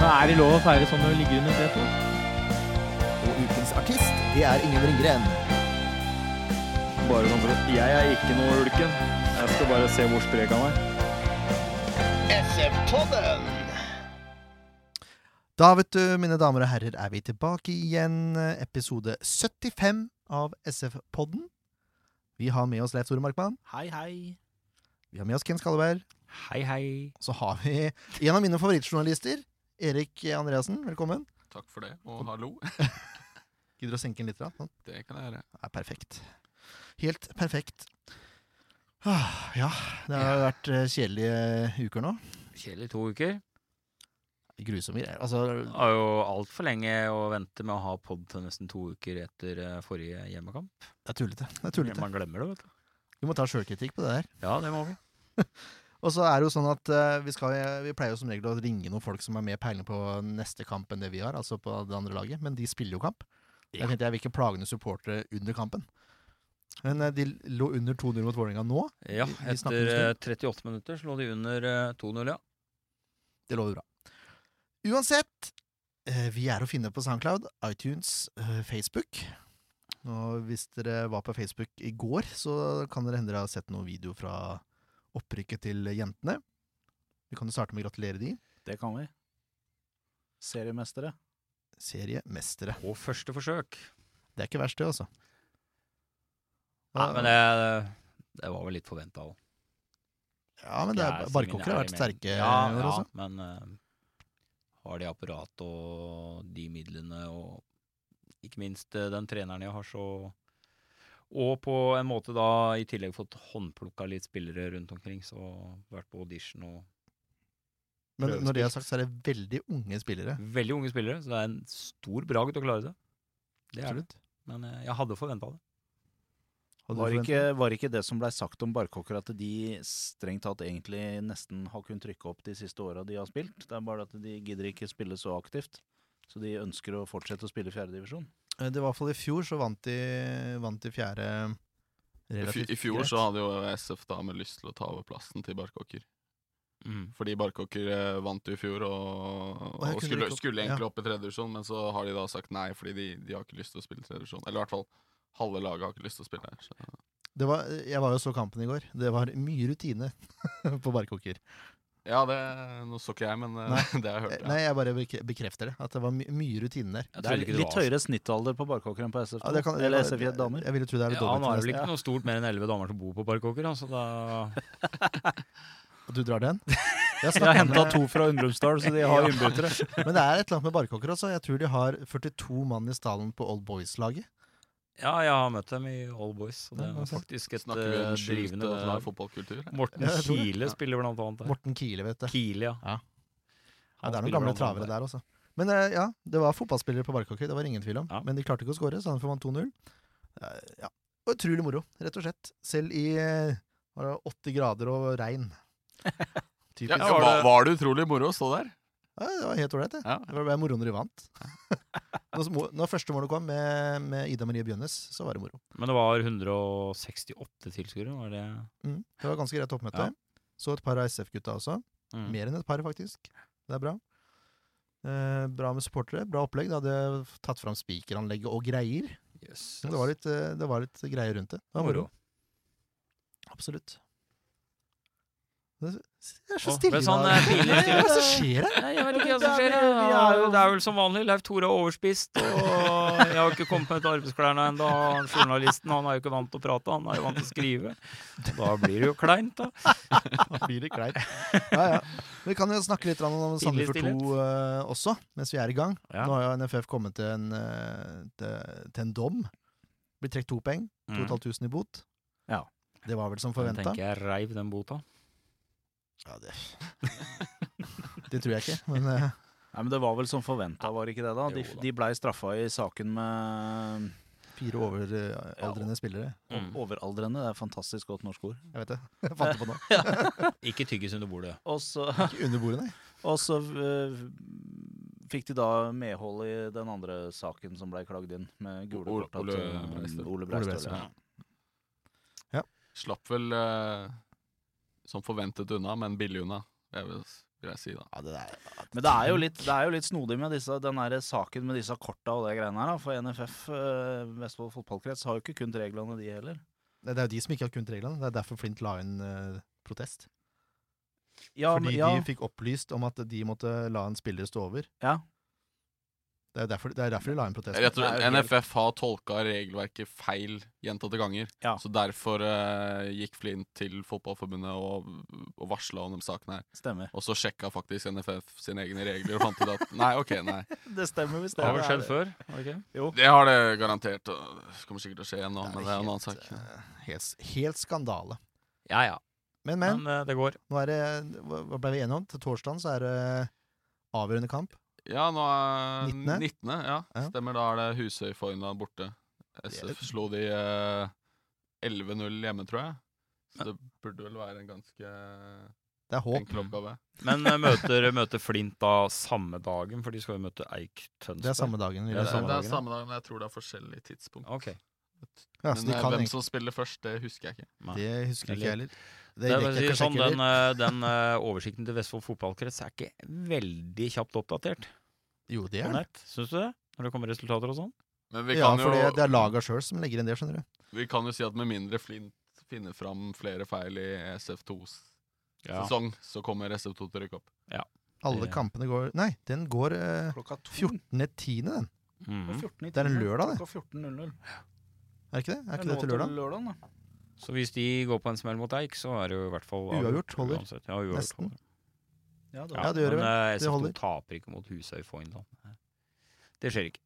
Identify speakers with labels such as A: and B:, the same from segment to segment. A: Er det lov å feire sånn når du ligger under setet?
B: Og ukens artist, det er Ingen Ringgren.
C: Bare sånn for at Jeg er ikke noe ulken. Jeg skal bare se hvor sprek han er.
D: Da, vet du, mine damer og herrer, er vi tilbake igjen. Episode 75 av SF-podden. Vi har med oss Leif Tore Markmann.
A: Hei, hei.
D: Vi har med oss Ken Skalleberg.
A: Hei, hei.
D: Og så har vi en av mine favorittjournalister, Erik Andreassen. Velkommen.
E: Takk for det, og hallo.
D: Gidder å senke den litt? da? Sånn.
E: Det kan jeg gjøre.
D: Det er perfekt. Helt perfekt. Ah, Ja, det har vært eh, kjedelige uker nå.
F: Kjedelig to uker.
D: Grusomme greier. Altså,
F: Det var jo altfor lenge å vente med å ha pod til nesten to uker etter eh, forrige hjemmekamp.
D: det er tullete. Det er tullete.
F: Man glemmer det, vet du.
D: Vi må ta sjølkritikk på det der.
F: Ja, det må vi.
D: Og så er det jo sånn at eh, vi, skal, vi pleier jo som regel å ringe noen folk som har mer peiling på neste kamp enn det vi har, altså på det andre laget, men de spiller jo kamp. Jeg tenkte jeg vil ikke plage noen supportere under kampen. Men eh, de lå under 2-0 mot Vålerenga nå.
F: Ja,
D: Vi- vi snakker
F: etter eh,
D: en
F: 38 minutter slo de under eh, 2-0, ja.
D: Det lover bra. Uansett, eh, vi er å finne på SoundCloud, iTunes, eh, Facebook. Og hvis dere var på Facebook i går, så kan dere hende dere har sett noen video fra opprykket til jentene. Vi kan jo starte med å gratulere de.
G: Det kan vi. Seriemestere.
D: Seriemestere.
F: Og første forsøk.
D: Det er ikke verst, det, altså.
F: Nei, men det, det var vel litt forventa òg.
D: ja, men det er, Barkåker har vært sterke
F: ja,
D: i år
F: ja,
D: også.
F: Men eh, har de apparatet og de midlene og ikke minst eh, den treneren jeg har, så Og på en måte da i tillegg fått håndplukka litt spillere rundt omkring, så vært på audition og
D: Men når det er sagt, så er det veldig unge spillere.
F: Veldig unge spillere, så det er en stor bragd å klare det. Det er det.
D: Absolutt.
F: Men eh, jeg hadde forventa det.
D: Hadde du
G: Var
D: forventet-
G: ikke, var ikke det som blei sagt om Barkåker, at de strengt tatt egentlig nesten har kunnet trykke opp de siste åra de har spilt? Det er bare at de gidder ikke spille så aktivt. Så de ønsker å fortsette å spille fjerdedivisjon.
D: Eh, Det var i hvert fall i fjor, så vant de, vant de fjerde
E: I, fj
D: relativt
E: I fjor
D: greit.
E: så hadde jo SF da med lyst til å ta over plassen til Barkåker.
D: Mm.
E: Fordi Barkåker eh, vant jo i fjor og,
D: Og her kunne de
E: og skulle,
D: ikke opp-
E: skulle
D: ja.
E: egentlig opp i tredje divisjon, men så har de da sagt nei fordi de, de har ikke lyst til å spille i tredje divisjon. Eller i hvert fall halve laget har ikke lyst til å spille her. Så.
D: det var, eh, Jeg var jo så kampen i går. Det var mye rutine på barkåker.
E: Ja, det Nå så ikke jeg, men eh,
D: Nei.
E: det har jeg
D: Eh,
E: hørt. Ja.
D: Nei, jeg bare bekre- bekrefter det. At det var my mye rutine der.
F: Jeg
G: Det er
F: trodde ikke det
G: litt
F: var
G: høyere snittalder på Barkåker enn på SF2.
D: Ja, det kan-
G: eller SF1 damer.
D: Jeg vil jo tro det er
F: Ja,
D: litt dobbelt.
F: han har
D: til
F: vel
D: neste-
F: ikke noe stort mer enn elleve damer som bor på Barkåker, da, så da
D: Og du drar den? Jeg
G: Jeg har
D: snakket
G: henta
D: med-
G: to fra Undrumsdal, så de har innbyttere.
D: Men det er et eller annet med barkåker også. Jeg tror de har 42 mann i stallen på Old Boys-laget.
F: Ja, jeg har møtt dem i All Boys, og det
D: Ja,
F: var
D: altså.
F: faktisk et
E: Snakker vi
F: eh,
E: om skjult
F: drivende godt
E: eh,
F: lag.
E: fotballkultur? her?
F: Morten
D: Ja, jeg tror det.
F: Kile spiller blant annet der.
D: Morten Kiele, vet du.
F: Kile, ja.
D: Ja,
F: Han
D: det er noen
F: spiller
D: gamle
F: blant
D: travere
F: annet
D: der også. Men eh, ja, det var fotballspillere på Barkåker, det var ingen tvil om.
F: Ja.
D: Men de klarte ikke å skåre, så han vant 2-0. Eh, Ja. Og utrolig moro, rett og slett. Selv i eh, var det 80 grader og regn. Typisk.
E: Ja,
D: Ja,
F: var
E: var, det...
F: det-
E: var det utrolig moro å stå der?
D: det var helt ålreit, det.
E: Ja.
D: Det var bare moro når de vant. Når, små- når første målet kom med, med Ida Marie Bjønnes, så var det moro.
F: Men det var 168 tilskuere, var det?
D: Mm. Det var ganske greit toppmøte.
F: Ja.
D: Så et par av SF-gutta også.
F: Mm.
D: Mer enn et par, faktisk. Det er bra. Eh, bra med supportere, bra opplegg. De hadde tatt fram spikeranlegget og greier.
F: Yes.
D: Det var litt, eh, det var litt greier rundt det. Det var moro.
F: Moro. Mm.
D: Absolutt. Det det er så
F: Åh,
D: stille
F: ble sånn,
D: i
F: eh,
D: dag.
F: pinlig
D: Hva er det som
F: stille.
D: skjer her?
F: Nei, jeg vet ikke hva som skjer.
G: Vi er- vi
F: ja.
G: er jo-
F: Det er vel som vanlig. Leif Tore er overspist, og jeg har ikke kommet med til arbeidsklærne ennå. Journalisten han er jo ikke vant til å prate, han er jo vant til å skrive. Da blir det jo kleint, da.
D: Da blir det kleint. Ja, ja. Vi kan jo snakke litt om
F: Pinlig
D: Sandefjord 2 eh, også, mens vi er i gang.
F: Ja.
D: Nå har jo NFF kommet til en, eh, til, til en dom. Blir trukket to peng.
F: Mm.
D: 2500 i bot.
G: Ja.
D: Det var vel som
F: Den
D: forventa.
F: Mm. tenker jeg reiv den bota.
D: Ja, det Det tror jeg ikke, men eh,
G: Nei, men Det var vel som forventa, var det ikke det? da? De,
F: Jo da.
G: de blei straffa i saken med
D: Fire overaldrende spillere.
F: Mm.
G: overaldrende. Det er et fantastisk godt norsk ord.
D: Jeg vet det. Jeg fant det på nå.
F: Ikke tyggis under bordet.
G: Og så,
D: Ikke under bordet, nei.
G: og så eh, fikk de da medhold i den andre saken som blei klagd inn, med gule
E: Ole-
G: kort. at,
E: Ole
G: eh,
E: Breistøl.
G: Ole Breistøl.
D: Breistøl,
G: Ja.
E: Slapp vel eh, som forventet unna, men billig unna, jeg vil, vil jeg si da.
D: Ja, det der.
G: Men det er, jo litt, det er jo litt snodig med disse, den her saken med disse korta og det greiene her. da, For NFF, eh, Vestfold fotballkrets, har jo ikke kunnet reglene, de heller.
D: Nei, Det er jo de som ikke har kunnet reglene. Det er derfor Flint la inn eh, protest.
G: Ja, men-
D: Fordi
G: ja,
D: de fikk opplyst om at de måtte la en spiller stå over.
G: Ja.
D: Det er derfor, det er derfor de la inn protest.
E: Rett og slett,
G: Det er jo helt-
E: NFF har tolka regelverket feil gjentatte ganger.
G: Ja.
E: Så derfor eh, gikk Flint til Fotballforbundet og, og varsla om de sakene her.
G: stemmer.
E: Og så sjekka faktisk NFF sine egne regler og fant ut at nei, ok, nei.
G: Det stemmer hvis det
F: Det har vel
G: er
F: skjedd
G: det.
F: før? har det ikke?
E: Det har det garantert. og Det kommer sikkert til å skje igjen nå,
D: Det er
E: men det er en annen
D: helt,
E: sak.
D: eh, Helt, helt skandale.
F: Ja ja.
D: Men, men.
F: Men eh, det går.
D: Nå er det, hva hva ble vi enige om? Til torsdagen så er det eh, avgjørende kamp.
E: Ja, nå er
D: 19.,
E: 19. ja.
D: Ja.
E: Stemmer. Da er det Husøy Foynland borte. SF slo de eh, 11-0 hjemme, tror jeg. Så det burde vel være en ganske
D: Det er håp.
E: enkel oppgave.
F: Men eh, møter, møter Flint da samme dagen, for de skal jo møte Eik Tønsberg.
D: Det er samme dagen. vil
E: Det
D: jeg
E: er,
D: si.
E: det er samme dag, men jeg tror det er forskjellig tidspunkt.
F: Ok.
D: Ja, så
E: Men
D: de
E: eh,
D: kan
E: hvem
D: egentlig,
E: som spiller først, det husker jeg ikke.
D: det husker ikke jeg heller. Det
F: Det er
D: rekker
F: bare å
D: jeg ikke
F: si det
D: å
F: sånn,
D: sjekke
F: den,
D: heller.
F: eh, den eh, oversikten til Vestfold fotballkrets er ikke veldig kjapt oppdatert
G: eh,
D: Jo, det
F: på
D: er det.
F: nett, syns du det? Når det kommer resultater og sånn?
E: Men vi
D: Ja,
E: kan,
D: for det,
E: jo,
D: det er laga sjøl som legger inn det, skjønner du.
E: vi kan jo si at med mindre Flint finner fram flere feil i SF2s
F: Ja.
E: sesong, så kommer SF2 til å rykke opp.
D: Alle
F: Det-
D: kampene går Nei, den går eh,
G: Klokka to.
D: 14.10., den.
G: Mm.
F: Mhm.
D: Det er en lørdag, det.
G: Klokka 14.00.
D: Er ikke det? Er ikke
G: Det
D: det
G: nå
D: til lørdag?
G: lørdagen da.
F: Så hvis de går på en smell mot Eik, så er det jo i hvert fall
D: Uavgjort holder.
F: uansett. Ja, uavgjort
D: Nesten.
F: holder.
G: Ja, det
D: Ja, det gjør det
F: men
D: vel.
F: eh,
D: Det
F: SF2
D: holder.
F: taper ikke mot Husøy Foynland. Det skjer ikke.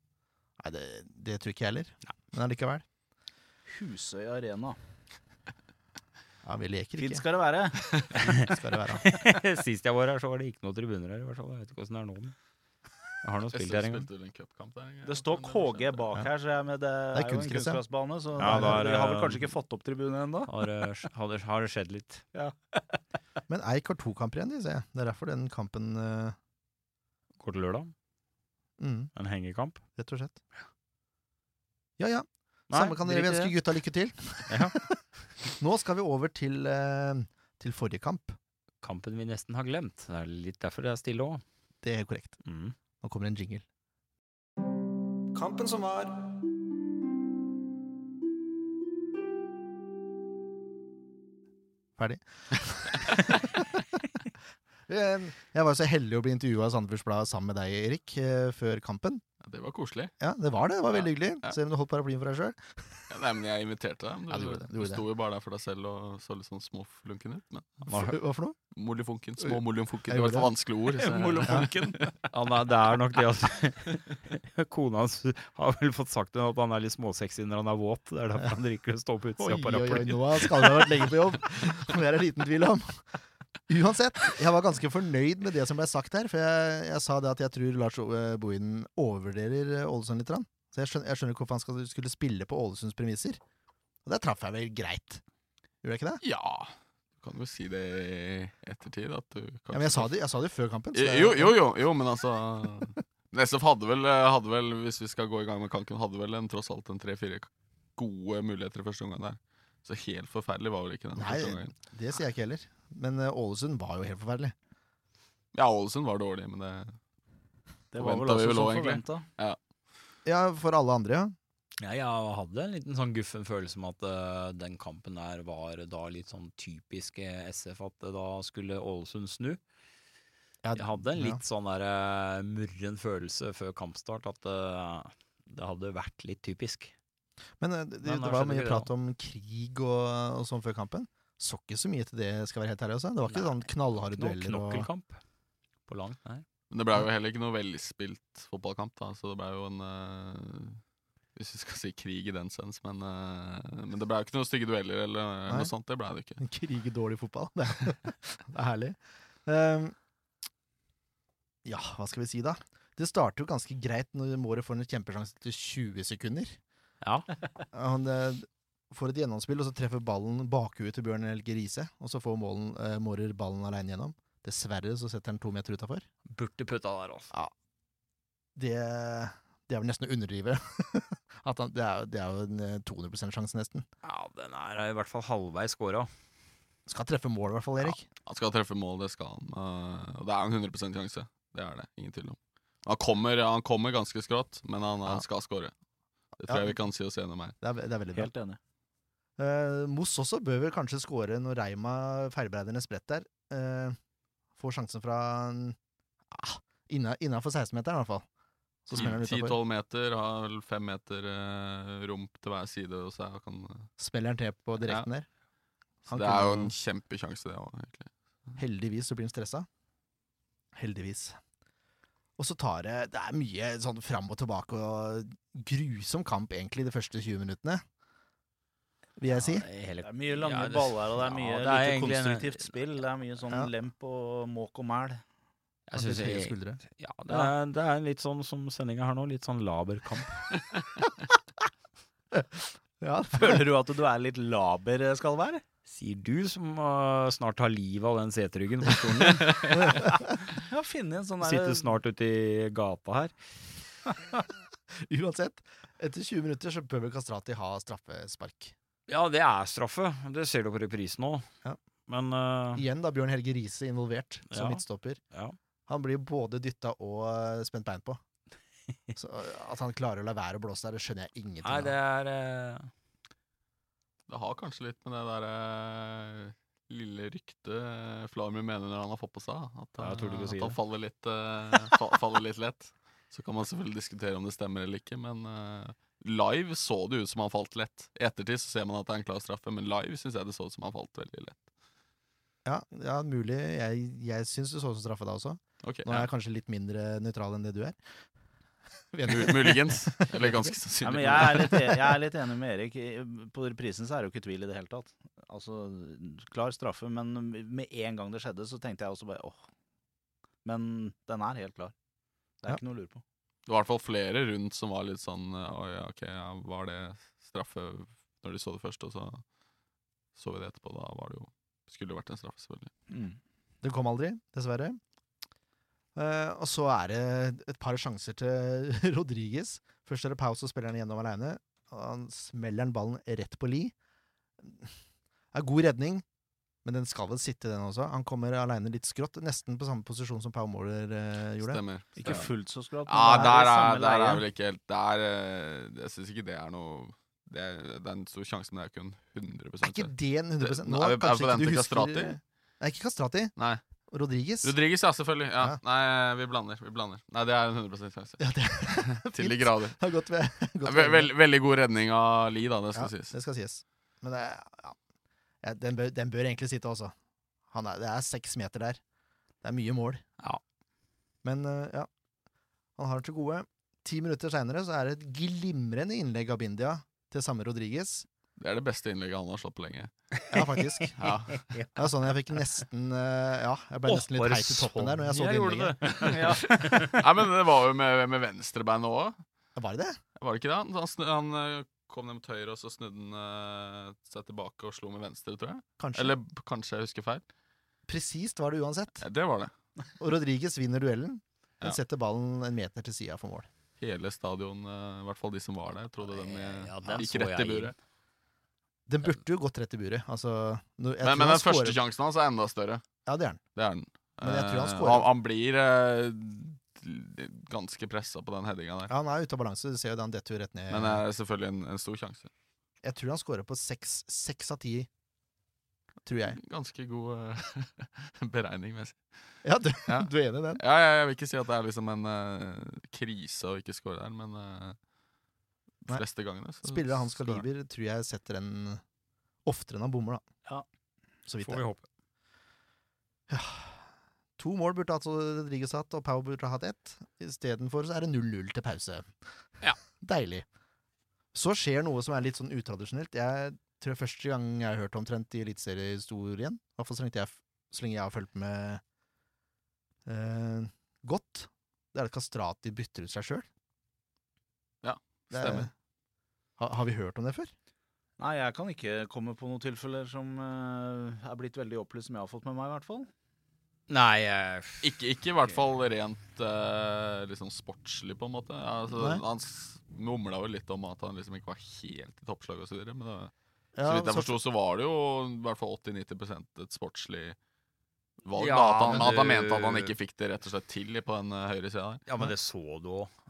D: Nei, det, det tror ikke jeg heller. Men allikevel.
G: Husøy Arena.
D: Ja, vi leker
G: Fint
D: ikke,
G: skal det være.
D: skal det være.
F: Sist jeg var her, så var det ikke noen tribuner her, i hvert fall. Jeg vet ikke åssen det er nå. men Jeg har nå
E: SF
F: spilt her en gang.
E: spilte vel en cupkamp der? en gang,
G: Det står
E: men
G: KG
E: skjedde.
G: bak her, så jeg, men det, er jo en
D: kunstgress, ja.
G: kunstgressbane. Så
F: Ja,
G: det,
F: det er,
G: de har vel
F: eh,
G: kanskje ikke fått opp tribunen ennå.
F: Har, eh, sk- har det- har det skjedd litt?
D: Men Eik har to kamper igjen, de, ser jeg. Det er derfor den kampen eh,
F: Går til lørdag.
D: mm,
F: En hengekamp.
D: Rett og slett. Ja ja.
F: Nei,
D: Samme kan dere. Vi
F: drit i
D: ønsker
F: det.
D: gutta lykke til.
F: Ja.
D: Nå skal vi over til, eh, til forrige kamp.
F: Kampen vi nesten har glemt. Det er litt derfor det er stille òg.
D: Det er korrekt.
F: Mm.
D: Nå kommer en jingle.
B: Kampen som var.
D: Ferdig. Eh, Jeg var jo så heldig å bli intervjua i Sandefjords Blad sammen med deg, Erik, eh, før kampen.
E: Ja, det var koselig.
D: Ja, det var det. Det var veldig hyggelig.
E: Ja.
D: Selv om du holdt paraplyen for deg sjøl.
E: Ja, nei, men jeg inviterte deg. men Du,
D: Ja, du gjorde det, du
E: du
D: gjorde
E: sto jo bare der for deg selv og så litt sånn småflunken ut. Men
D: Hva for noe?
E: molifunken, små molifunken,
D: Jeg
E: det var et
D: gjorde
E: vanskelig ord. Så jeg,
F: Han er, det er nok det at Kona hans har vel fått sagt til henne at han er litt småsexy når han er våt. Det er derfor han drikker å stå på
D: Oi,
F: utsida
D: oi,
F: av
D: oi,
F: paraplyen.
D: nå har Skalve vært lenge på jobb. Om det er det liten tvil om. Uansett, jeg var ganske fornøyd med det som ble sagt her. For jeg, jeg sa det at jeg tror Lars Ove Bohinen overvurderer eh, Ålesund litt. grann. Så jeg skjønner, jeg skjønner ikke hvorfor han skal, skulle spille på Ålesunds premisser. Og der traff jeg vel greit. Gjorde jeg ikke det?
E: ja, du kan jo si det i ettertid. At du
D: Ja, men jeg sa det, jeg sa det før kampen. så det-
E: Jo, jo, jo, jo men altså SF hadde vel, hadde vel, hvis vi skal gå i gang med kanken, hadde vel en, tross alt en tre-fire gode muligheter i første omgang der. Så helt forferdelig var vel ikke den
D: Nei.
E: første omgangen.
D: Det sier jeg ikke heller. Men eh, Ålesund var jo helt forferdelig.
E: Ja, Ålesund var dårlig, men det
G: Det var vel
E: forventet vi
G: også
E: vel
G: som
E: også, egentlig.
G: forventa.
D: Ja, for alle andre, ja.
F: Ja, jeg hadde en liten sånn guffen følelse om at eh, den kampen der var da litt sånn typisk eh, SF, at eh, da skulle Ålesund snu.
D: Ja,
F: Jeg hadde en
D: ja.
F: litt sånn der eh, murren følelse før kampstart at eh, det hadde vært litt typisk.
D: Men eh, det,
F: Men
D: det
F: da
D: var
F: skjedde
D: mye
F: ikke det,
D: prat om krig og, og sånn før kampen. Så ikke så mye til det, skal jeg være helt ærlig. Også. Det var ikke
F: Nei,
D: sånn knallharde
F: Noen
D: dueller. Og...
F: knokkelkamp på langt nær.
E: Men det ble jo heller ikke noe velspilt fotballkamp, da, så det ble jo en eh, Hvis vi skal si krig i den sens, men, eh, men det ble jo ikke noen stygge dueller eller eh,
D: Nei.
E: noe sånt. Det ble det ikke.
D: Krig i dårlig fotball. Det er, det er herlig. Ehm, ja, hva skal vi si da? Det starter jo ganske greit når Måret får en kjempesjanse til 20 sekunder.
F: Ja.
D: Han eh, får et gjennomspill, og så treffer ballen bakhuet til Bjørn Helge Riise. Og så får målen, eh, Mårer ballen aleine gjennom. Dessverre så setter han to meter utafor.
F: Burde putta der også.
D: Det, det er vel nesten å underdrive. At han, det, er, jo- det er jo en eh, 200 sjanse, nesten.
F: Ja, den er i hvert fall halvveis scora.
D: Skal treffe mål, i hvert fall, Erik.
E: Han skal treffe mål, det skal han. eh, Og det er en 100 sjanse. Det er det. Ingen tvil om. Han kommer, han kommer ganske skrått, men han,
D: Ja.
E: han skal skåre. Det
D: Ja.
E: tror jeg vi kan si oss gjennom her.
D: Det er, ve- det er veldig bra.
G: Helt enig.
D: Eh, Moss også bør vel kanskje skåre når Reima feilbereider en sprett der. Eh, får sjansen fra en- ah, inna- Innafor 16-meteren, i hvert fall.
E: Mm,
D: Så smeller han utafor.
E: 10-12 meter, har vel 5 meter eh, rom til hver side. Og så er han,
D: Smeller han til på direkten der.
E: så
D: Han
E: det er jo
D: kunne-
E: en kjempesjanse, det òg, egentlig.
D: Heldigvis så blir han stressa. Heldigvis. Og så tar det Det er mye sånn fram og tilbake og grusom kamp, egentlig, de første 20 minuttene. Vil jeg si.
G: Det er mye lange
F: Ja, det-
G: baller, og det
F: ja,
G: er mye
F: det er
G: lite
F: egentlig en-
G: konstruktivt spill. Det er mye sånn
D: Ja.
G: lemp og måk og mæl.
F: Jeg
D: At det
F: synes
D: er høye
F: jeg,
D: skuldre.
F: ja, det, er, det er litt sånn som sendinga her nå, litt sånn laber kamp.
D: Ja,
G: Føler du at du er litt laber, eh, skal være?
F: Sier du som øh, snart tar livet av den seteryggen på stolen din.
G: Ja, finne en sånn
F: Sitter snart ute i gata her.
D: Uansett, etter 20 minutter så bør vel Kastrati ha straffespark.
F: Ja, det er straffe. Det ser du på reprisen nå.
D: Ja.
F: Men øh,
D: Igjen da Bjørn Helge Riise involvert som
F: Ja.
D: midtstopper.
F: Ja.
D: Han blir både dytta og eh, spent bein på. Så eh, At han klarer å la være å blåse der, det skjønner jeg ingenting
F: Nei, det
D: av.
F: er øh,
E: Det har kanskje litt med det derre lille ryktet Flamur mener når han har fått på seg, at,
F: Ja, jeg tror du
E: eh,
F: ikke
E: at
F: sier
E: han
F: det.
E: faller litt, eh, fa- faller litt lett. Så kan man selvfølgelig diskutere om det stemmer eller ikke, men eh, live så det ut som han falt lett. I ettertid så ser man at det er en klar straffe, men live syns jeg det så ut som han falt veldig lett.
D: Ja, ja, mulig. Jeg, jeg syns du så ut som straffe da også.
E: Ok,
D: Nå er
E: ja.
D: jeg kanskje litt mindre nøytral enn det du er.
E: Mu- Muligens. Eller ganske
G: Ja,
E: sannsynlig.
G: men jeg er, litt, e-, jeg er litt enig med Erik. I- På reprisen så er det jo ikke tvil i det hele tatt. Altså, Klar straffe, men med en gang det skjedde, så tenkte jeg også bare åh. Men den er helt klar. Det er
D: Ja.
G: ikke noe å lure på.
E: Det var i hvert fall flere rundt som var litt sånn eh, Oi, ok, ja, var det straffe når de så det først, og så så vi det etterpå. Da var det jo Skulle det vært en straffe, selvfølgelig.
D: Det kom aldri, dessverre. Eh, og så er det et par sjanser til Rodriges. Først er det pause, og spiller han gjennom aleine. Han smeller den ballen rett på li. Det er god redning, men den skal vel sitte, den også. Han kommer aleine litt skrått, nesten på samme posisjon som Pau Måler eh, gjorde.
E: Stemmer.
G: Ikke
E: Stemmer.
G: fullt så skrått.
E: Ja,
G: men det
E: Ah, der
G: det
E: er,
G: samme
E: der er
G: leie.
E: vel ikke helt der, eh, Jeg syns ikke det er noe det er, det er en stor sjanse, men det er jo kun 100
D: Er ikke det en 100 Nå
E: Er vi- er vi
D: kanskje
E: på
D: ikke du
E: den til
D: husker
E: Kastrati?
D: Nei, ikke Kastrati.
E: Nei.
D: Rodriges.
E: Rodriguez, ja, selvfølgelig. Ja.
D: Ja.
E: Nei, vi blander. vi blander Nei, det er en 100 sjanse.
D: Ja, det
E: Til de grader.
D: har gått ved. Godt
E: Ve- vel- veldig god redning av Lie, da, det skal
D: ja,
E: sies.
D: Det skal sies. Men det, er- ja. Ja, den, bør, den bør egentlig sitte også. Han er, det er seks meter der. Det er mye mål.
F: Ja.
D: Men eh, ja, han har det til gode. Ti minutter seinere så er det et glimrende innlegg av Bindia til samme Rodriges.
E: Det er det beste innlegget han har slått på lenge.
D: Ja, faktisk. Det
E: Ja.
D: er sånn jeg fikk nesten eh, Ja, jeg ble
F: Åh,
D: nesten
F: var
D: litt
F: det
D: heit i toppen der når jeg så
F: sånn
D: det
F: jeg gjorde
D: innlegget.
E: Nei, men det var jo med, med venstrebeinet òg.
D: Var det det?
E: Var det ikke det? Han, han, snu- han eh, kom ned mot høyre, og så snudde han eh, seg tilbake og slo med venstre, tror jeg.
D: Kanskje.
E: Eller b- kanskje jeg husker feil.
D: Presist var det uansett.
E: Ja, det var det.
D: Og Rodriges vinner duellen, men
E: Ja.
D: setter ballen en meter til sida for mål.
E: Hele stadion, eh, i hvert fall de som var der, trodde den eh,
F: Ja, den
E: gikk
F: så
E: rett i
F: jeg
E: buret.
D: Den burde jo gått rett i buret. Altså, nå- jeg tror
E: Men, men
D: han
E: den første
D: scorer-
E: sjansen hans er enda større.
D: Ja, det er den.
E: Det er den.
D: Men jeg tror han
E: Eh,
D: scorer.
E: han, han blir eh, d- ganske pressa på den headinga der.
D: Ja, han er ute av balanse. Du ser jo det, han detter jo rett ned.
E: Men eh, selvfølgelig en, en stor sjanse.
D: jeg tror han scorer på seks seks av ti. Tror
E: Mm.
D: jeg.
E: Ganske god eh, beregning, vil jeg si.
D: Ja, du,
E: Ja.
D: du er enig i den?
E: Ja, jeg, jeg vil ikke si at det er liksom en eh, krise å ikke score der, men eh,
D: Nei.
E: fleste gangene så
D: Spillere av hans
E: scorer han.
D: kaliber tror jeg setter den oftere enn han bommer, da.
G: Ja.
D: Så vidt det.
F: Får vi håpe.
D: To mål burde altså Rodriguez hatt, og Pau burde hatt ett. Istedenfor så er det 0-0 til pause.
F: Ja.
D: Deilig. Så skjer noe som er litt sånn utradisjonelt. Jeg tror første gang jeg har hørt omtrent i eliteseriehistorien, i hvert fall så lenge jeg, så lenge jeg har fulgt med eh, godt, det er at Kastrati bytter ut seg sjøl.
E: Ja, stemmer.
D: Har, har vi hørt om det før?
G: Nei, jeg kan ikke komme på noen tilfeller som eh, er blitt veldig opplyst, som jeg har fått med meg, i hvert fall.
F: Nei, eh, jeg
E: Ikke, ikke i hvert fall rent eh, liksom sportslig, på en måte. Altså,
D: Nei.
E: han s- mumla jo litt om at han liksom ikke var helt i toppslaget osv. Men det,
D: Ja,
E: så vidt jeg
D: så-
E: forsto, så var det jo i hvert fall 80-90 et sportslig valg.
F: Ja,
E: da, at, han,
F: men
E: at han
F: du-
E: mente at han ikke fikk det rett og slett til på den eh, høyre sida der.
F: Ja, men det så du òg.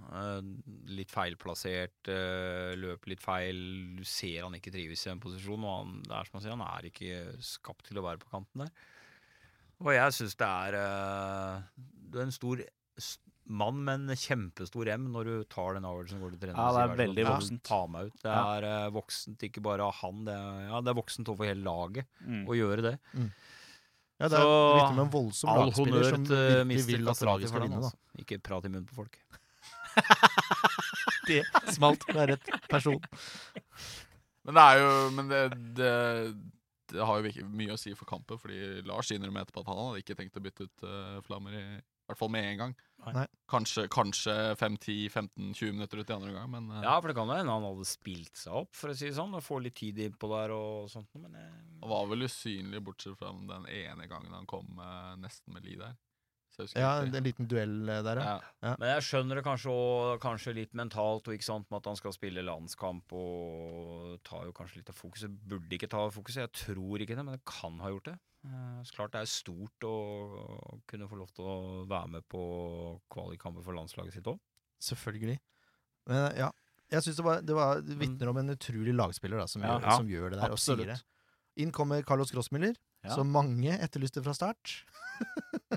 F: Litt feilplassert, eh, løp litt feil. Du ser han ikke trives i den posisjonen. Og han, det er som han sier, han er ikke skapt til å være på kanten der. Og jeg syns det er eh, Du er en stor s- mann med en kjempestor M når du tar den avgjørelsen og går til treneren.
G: Ja,
F: og sier,
G: det er
F: "Vær så
G: veldig
F: snill,
G: voksent."
F: Ta meg ut. Det
G: Ja.
F: er eh, voksent, ikke bare av han. Det er, ja, det er voksent overfor hele laget
G: Mm.
F: å gjøre det.
D: Ja, det er
F: Så,
D: vitner om en voldsom
F: All
D: lagspiller
F: honnør
D: som
F: til
D: virkelig
F: mister
D: vil at
F: Kastrati
D: laget
F: for
D: skal
F: den.
D: vinne. da.
F: Altså. Ikke prat i munnen på folk.
D: Det smalt med rett person.
E: Men det er jo Men det, det, det har jo ikke mye å si for kampen, fordi Lars innrømmer etterpå at han hadde ikke tenkt å bytte ut eh, Flammer, i, i hvert fall med en gang.
D: Nei.
E: Kanskje, kanskje 5-10-15-20 minutter ut i andre omgang, men eh,
F: Ja, for det kan jo hende han hadde spilt seg opp, for å si det sånn, og få litt tid innpå der og sånt. Men eh,
E: han var vel usynlig, bortsett fra den ene gangen han kom eh, nesten med li der. Så jeg husker
D: Ja,
E: ikke.
D: det er en liten duell eh, der, ja.
E: Ja.
F: Men jeg skjønner det kanskje, og, kanskje litt mentalt, og ikke sant, med at han skal spille landskamp og tar jo kanskje litt av fokuset. Burde ikke ta fokuset, jeg tror ikke det, men det kan ha gjort det. Eh, Så klart det er stort å å kunne få lov til å være med på kvalikkamper for landslaget sitt òg.
D: Selvfølgelig. Men eh, ja, jeg syns det var, det var det vitner om en utrolig lagspiller da, som,
G: Ja,
D: gjør,
G: ja.
D: som gjør det der, og
G: Absolutt.
D: sier det. Inn kommer Carlos Grossmiller,
G: Ja.
D: som mange etterlyste fra start.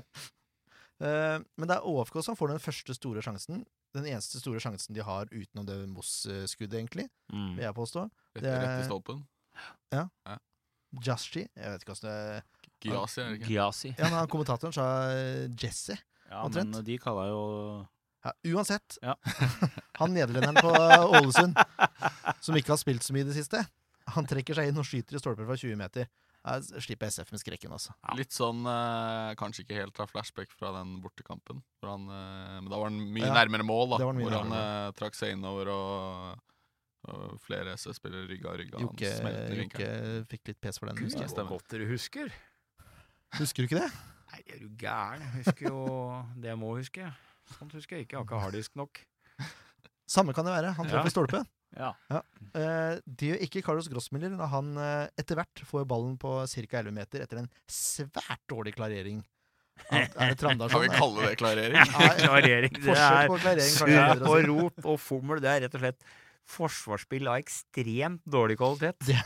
D: Eh, Men det er ÅFK som får den første store sjansen. Den eneste store sjansen de har utenom det Moss-skuddet, egentlig, vil jeg påstå.
E: Rett,
D: Det er-
E: rett i stolpen.
D: Jashi Jeg vet ikke hvordan det
E: Gyasi, er det ikke?
F: Giasi.
D: Ja, men han kommentatoren sa eh, Jesse.
G: Ja,
D: Omtrent.
G: men de kalla jo
D: Ja, uansett.
G: Ja.
D: han nederlenderen på eh, Ålesund, som ikke har spilt så mye i det siste, han trekker seg inn og skyter i stolper fra 20 meter. Jeg s- slipper SF med skrekken, altså.
E: Litt sånn eh, kanskje ikke helt av flashback fra den bortekampen. Hvor han, eh, men da var han mye
D: Ja,
E: nærmere mål, da.
D: det var han mye
E: hvor han
D: nærmere.
E: eh, trakk seg innover og, og flere SS-spillere rygga rygga. Han
D: Jokke
E: smelte i
D: Jokke
E: vinkelen.
D: fikk litt pes for den,
E: Gud,
D: husker jeg.
E: ja. stemmer.
F: Godt dere husker.
D: Husker du ikke det?
F: Nei, er du gæren? Jeg husker jo det jeg må huske. Sånt husker jeg ikke. Jeg har ikke harddisk nok.
D: Samme kan det være. Han traff i
F: Ja.
D: stolpe.
G: Ja.
D: Eh, det gjør ikke Carlos Grossmiller når han eh, etter hvert får ballen på ca. 11 meter etter en svært dårlig klarering. Er er det
E: Kan vi
D: Trandarsson?
E: kalle det klarering?
D: Nei,
F: Klarering, det
D: Forsøk
F: er
D: på klarering. kanskje det er
F: surr
D: bedre å si.
F: og rop og fummel. Det er rett og slett forsvarsspill av ekstremt dårlig kvalitet.
D: Det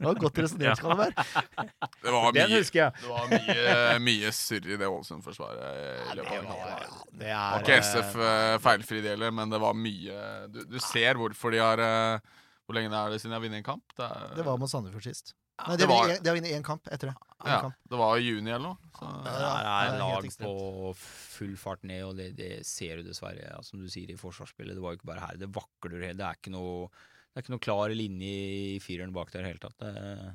D: var godt resonnert, skal det være.
E: Det var
F: Den
E: mye,
F: husker jeg.
E: det var mye, mye surr i det Ålesund-forsvaret. i løpet av kampen.
F: Det
E: Det var
F: er
E: ikke SF eh, feilfri det heller, men det var mye Du, du ser hvorfor de har eh, Hvor lenge det er det siden de har vunnet en kamp? Det, er,
D: Det var mot Sandefjord sist. Nei,
E: det
D: det
E: var-
D: var, det var inne i én kamp etter det. En
E: ja,
D: kamp.
E: det var i juni eller noe. Så,
F: Det
D: Ja,
F: er
D: det er helt
F: lag
D: ekstremt.
F: på full fart ned, og det, det ser du dessverre, ja, som du sier, i forsvarsspillet. Det var jo ikke bare her. Det vakler helt. Det er ikke noe, det er ikke noe klar linje i fireren bak der i det hele tatt. Det,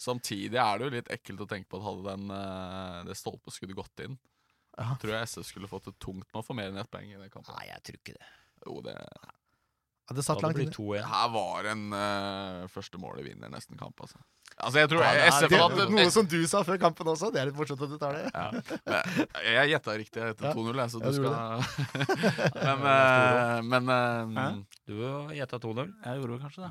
E: Samtidig er det jo litt ekkelt å tenke på at hadde den, eh, det stolpeskuddet gått inn,
D: Ja.
E: tror jeg SF skulle fått det tungt med å få mer enn ett poeng i den kampen.
F: nei, jeg tror ikke det.
E: Jo, det
D: Ja, det
F: Da
D: satt
F: hadde
D: langt
F: det blitt
D: inne.
F: 2-1.
E: her var en eh, første mål i vinner nesten kamp, altså. Altså, jeg tror
F: Ja, det er-
E: SF
D: Det,
E: hadde
D: noe som du sa før kampen også. Det er litt morsomt at du tar det.
E: Jeg, jeg gjetta riktig etter
D: Ja.
E: 2-0, jeg, så
D: Ja,
E: du
D: du
E: skal Men,
F: Ja,
E: eh, men, eh,
G: Hæ?
F: Du gjetta 2-0.
G: Jeg gjorde vel kanskje det.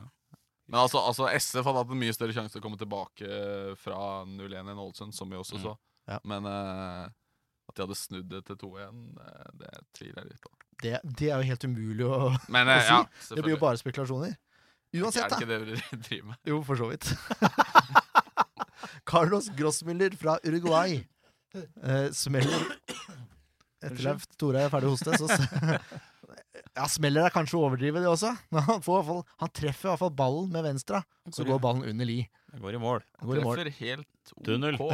E: men altså, altså, SF hadde hatt en mye større sjanse til å komme tilbake eh, fra 0-1 enn Ålesund, som vi også
F: Mm.
E: så.
D: Ja.
E: Men eh, at de hadde snudd det til 2-1, eh, det tviler jeg litt på.
D: det. Det er jo helt umulig å
E: Men
D: Å
E: eh,
D: si,
E: ja,
D: Det blir
E: selvfølgelig.
D: jo bare spekulasjoner. Uansett,
E: er det
D: da.
E: ikke det dere driver med?
D: Jo, for så vidt. Carlos Grossmiller fra Uruguay eh, smeller Etterlevd. Tore er ferdig å hoste, så s- Ja, smeller er kanskje å overdrive, det også. Men han, får i hvert fall, han treffer i hvert fall ballen med venstre, så går ballen under li.
F: Det går i mål.
D: Går i mål.
E: Treffer helt OK.
F: Tunnel.
E: Ja, og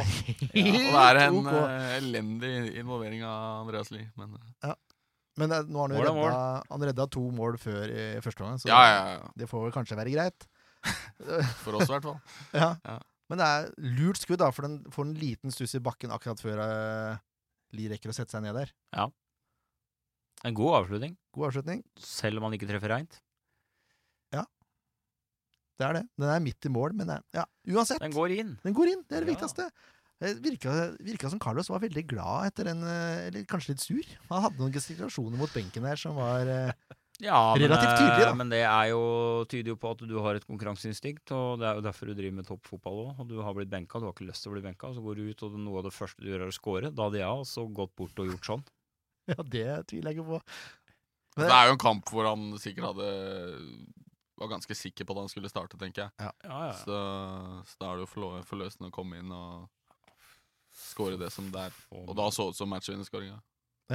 E: det er en
D: Ok.
E: eh, elendig involvering av Andreas Lie, men eh,
D: Men det, nå har han jo
F: Mål er mål.
D: redda, han redda to mål før i første omgang, så
E: ja, ja, ja.
D: det får vel kanskje være greit.
E: For oss i hvert fall.
D: Ja.
E: Ja.
D: Men det er lurt eh, skudd, da, for den får en liten stuss i bakken akkurat før uh, Li rekker å sette seg ned der.
F: Ja. En god avslutning,
D: God avslutning.
F: selv om han ikke treffer reint.
D: Det er det. Den er midt i mål, men det er, ja, uansett.
F: Den går inn.
D: Den går inn, det er det
F: Ja.
D: viktigste. Det virka, virka som Carlos var veldig glad etter en eh, Eller kanskje litt sur. Han hadde noen gestikulasjoner mot benken her som var eh,
F: Ja, men,
D: Relativt tydelig,
F: eh,
D: da.
F: Men det er jo, tyder jo på at du har et konkurranseinstinkt, og det er jo derfor du driver med toppfotball òg. Og du har blitt benka, du har ikke lyst til å bli benka, og så går du ut, og noe av det første du gjør, er å score. Da hadde jeg også gått bort og gjort sånn.
D: Ja, det tviler jeg ikke på.
E: Det er jo en kamp hvor han sikkert hadde Var ganske sikker på at han skulle starte, tenker jeg.
F: Ja, ja.
E: Så, så da er det jo forlø- forløsende å komme inn og skåre det som det er. Og da så det ut som matchvinnerskåringa.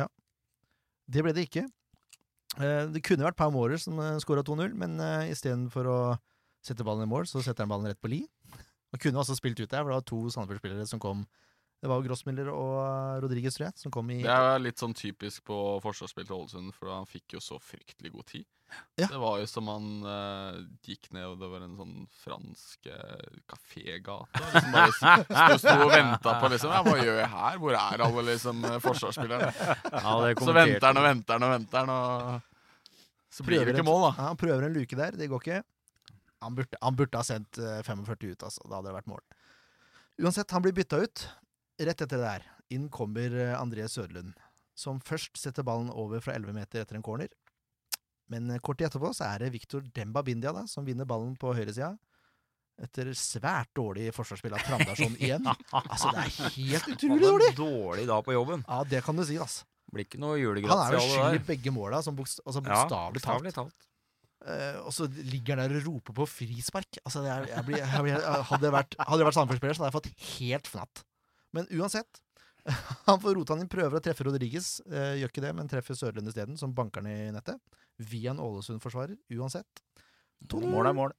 D: Det ble det ikke. Eh, Det kunne vært Pau Mårer som skåra 2-0, men eh, istedenfor å sette ballen i mål, så setter han ballen rett på li. Han kunne også spilt ut der, for det var to Sandefjord-spillere som kom. Det var jo Grossmiller og eh, Rodriguez, tror jeg, som kom i
E: Det er jo litt sånn typisk på forsvarsspill til Ålesund, for han fikk jo så fryktelig god tid.
D: Ja.
E: Det var jo som han eh, gikk ned, og det var en sånn fransk eh, kafégate. Liksom bare s- sto, sto og venta på liksom Ja, hva gjør jeg her? Hvor er alle liksom eh, forsvarsspillerne?
F: Ja, det
E: Så venter han og venter han og venter han, og så blir det
D: Prøver
E: ikke
D: en-
E: mål, da.
D: Ja, han prøver en luke der, det går ikke. Han burde, han burde ha sendt eh, 45 ut, altså. Da hadde det vært mål. Uansett, han blir bytta ut rett etter det der. Inn kommer eh, André Sørlund, som først setter ballen over fra 11 meter etter en corner. Men eh, kort tid etterpå så er det Victor Demba Bindia da, som vinner ballen på høyresida. Etter svært dårlig forsvarsspill av Trandarsson igjen. Altså, det er helt utrolig dårlig!
F: Dårlig da på jobben.
D: Ja, det kan du si, altså.
F: Blir ikke noe
D: Han er jo skyld i
F: julegratiale der.
D: begge måla, sånn bokst- altså bokstavelig talt.
F: talt.
D: Eh, og så ligger han der og roper på frispark. Altså, jeg, jeg blir, jeg blir, hadde jeg vært, hadde jeg vært Sandefjord-spiller, så hadde jeg fått helt fnatt. Men uansett. Han får rota han inn, prøver å treffe Rodriguez. Eh, gjør ikke det, men treffer Sørlund isteden, som banker ned i nettet. Via en Ålesund-forsvarer, uansett.
G: Mål er mål.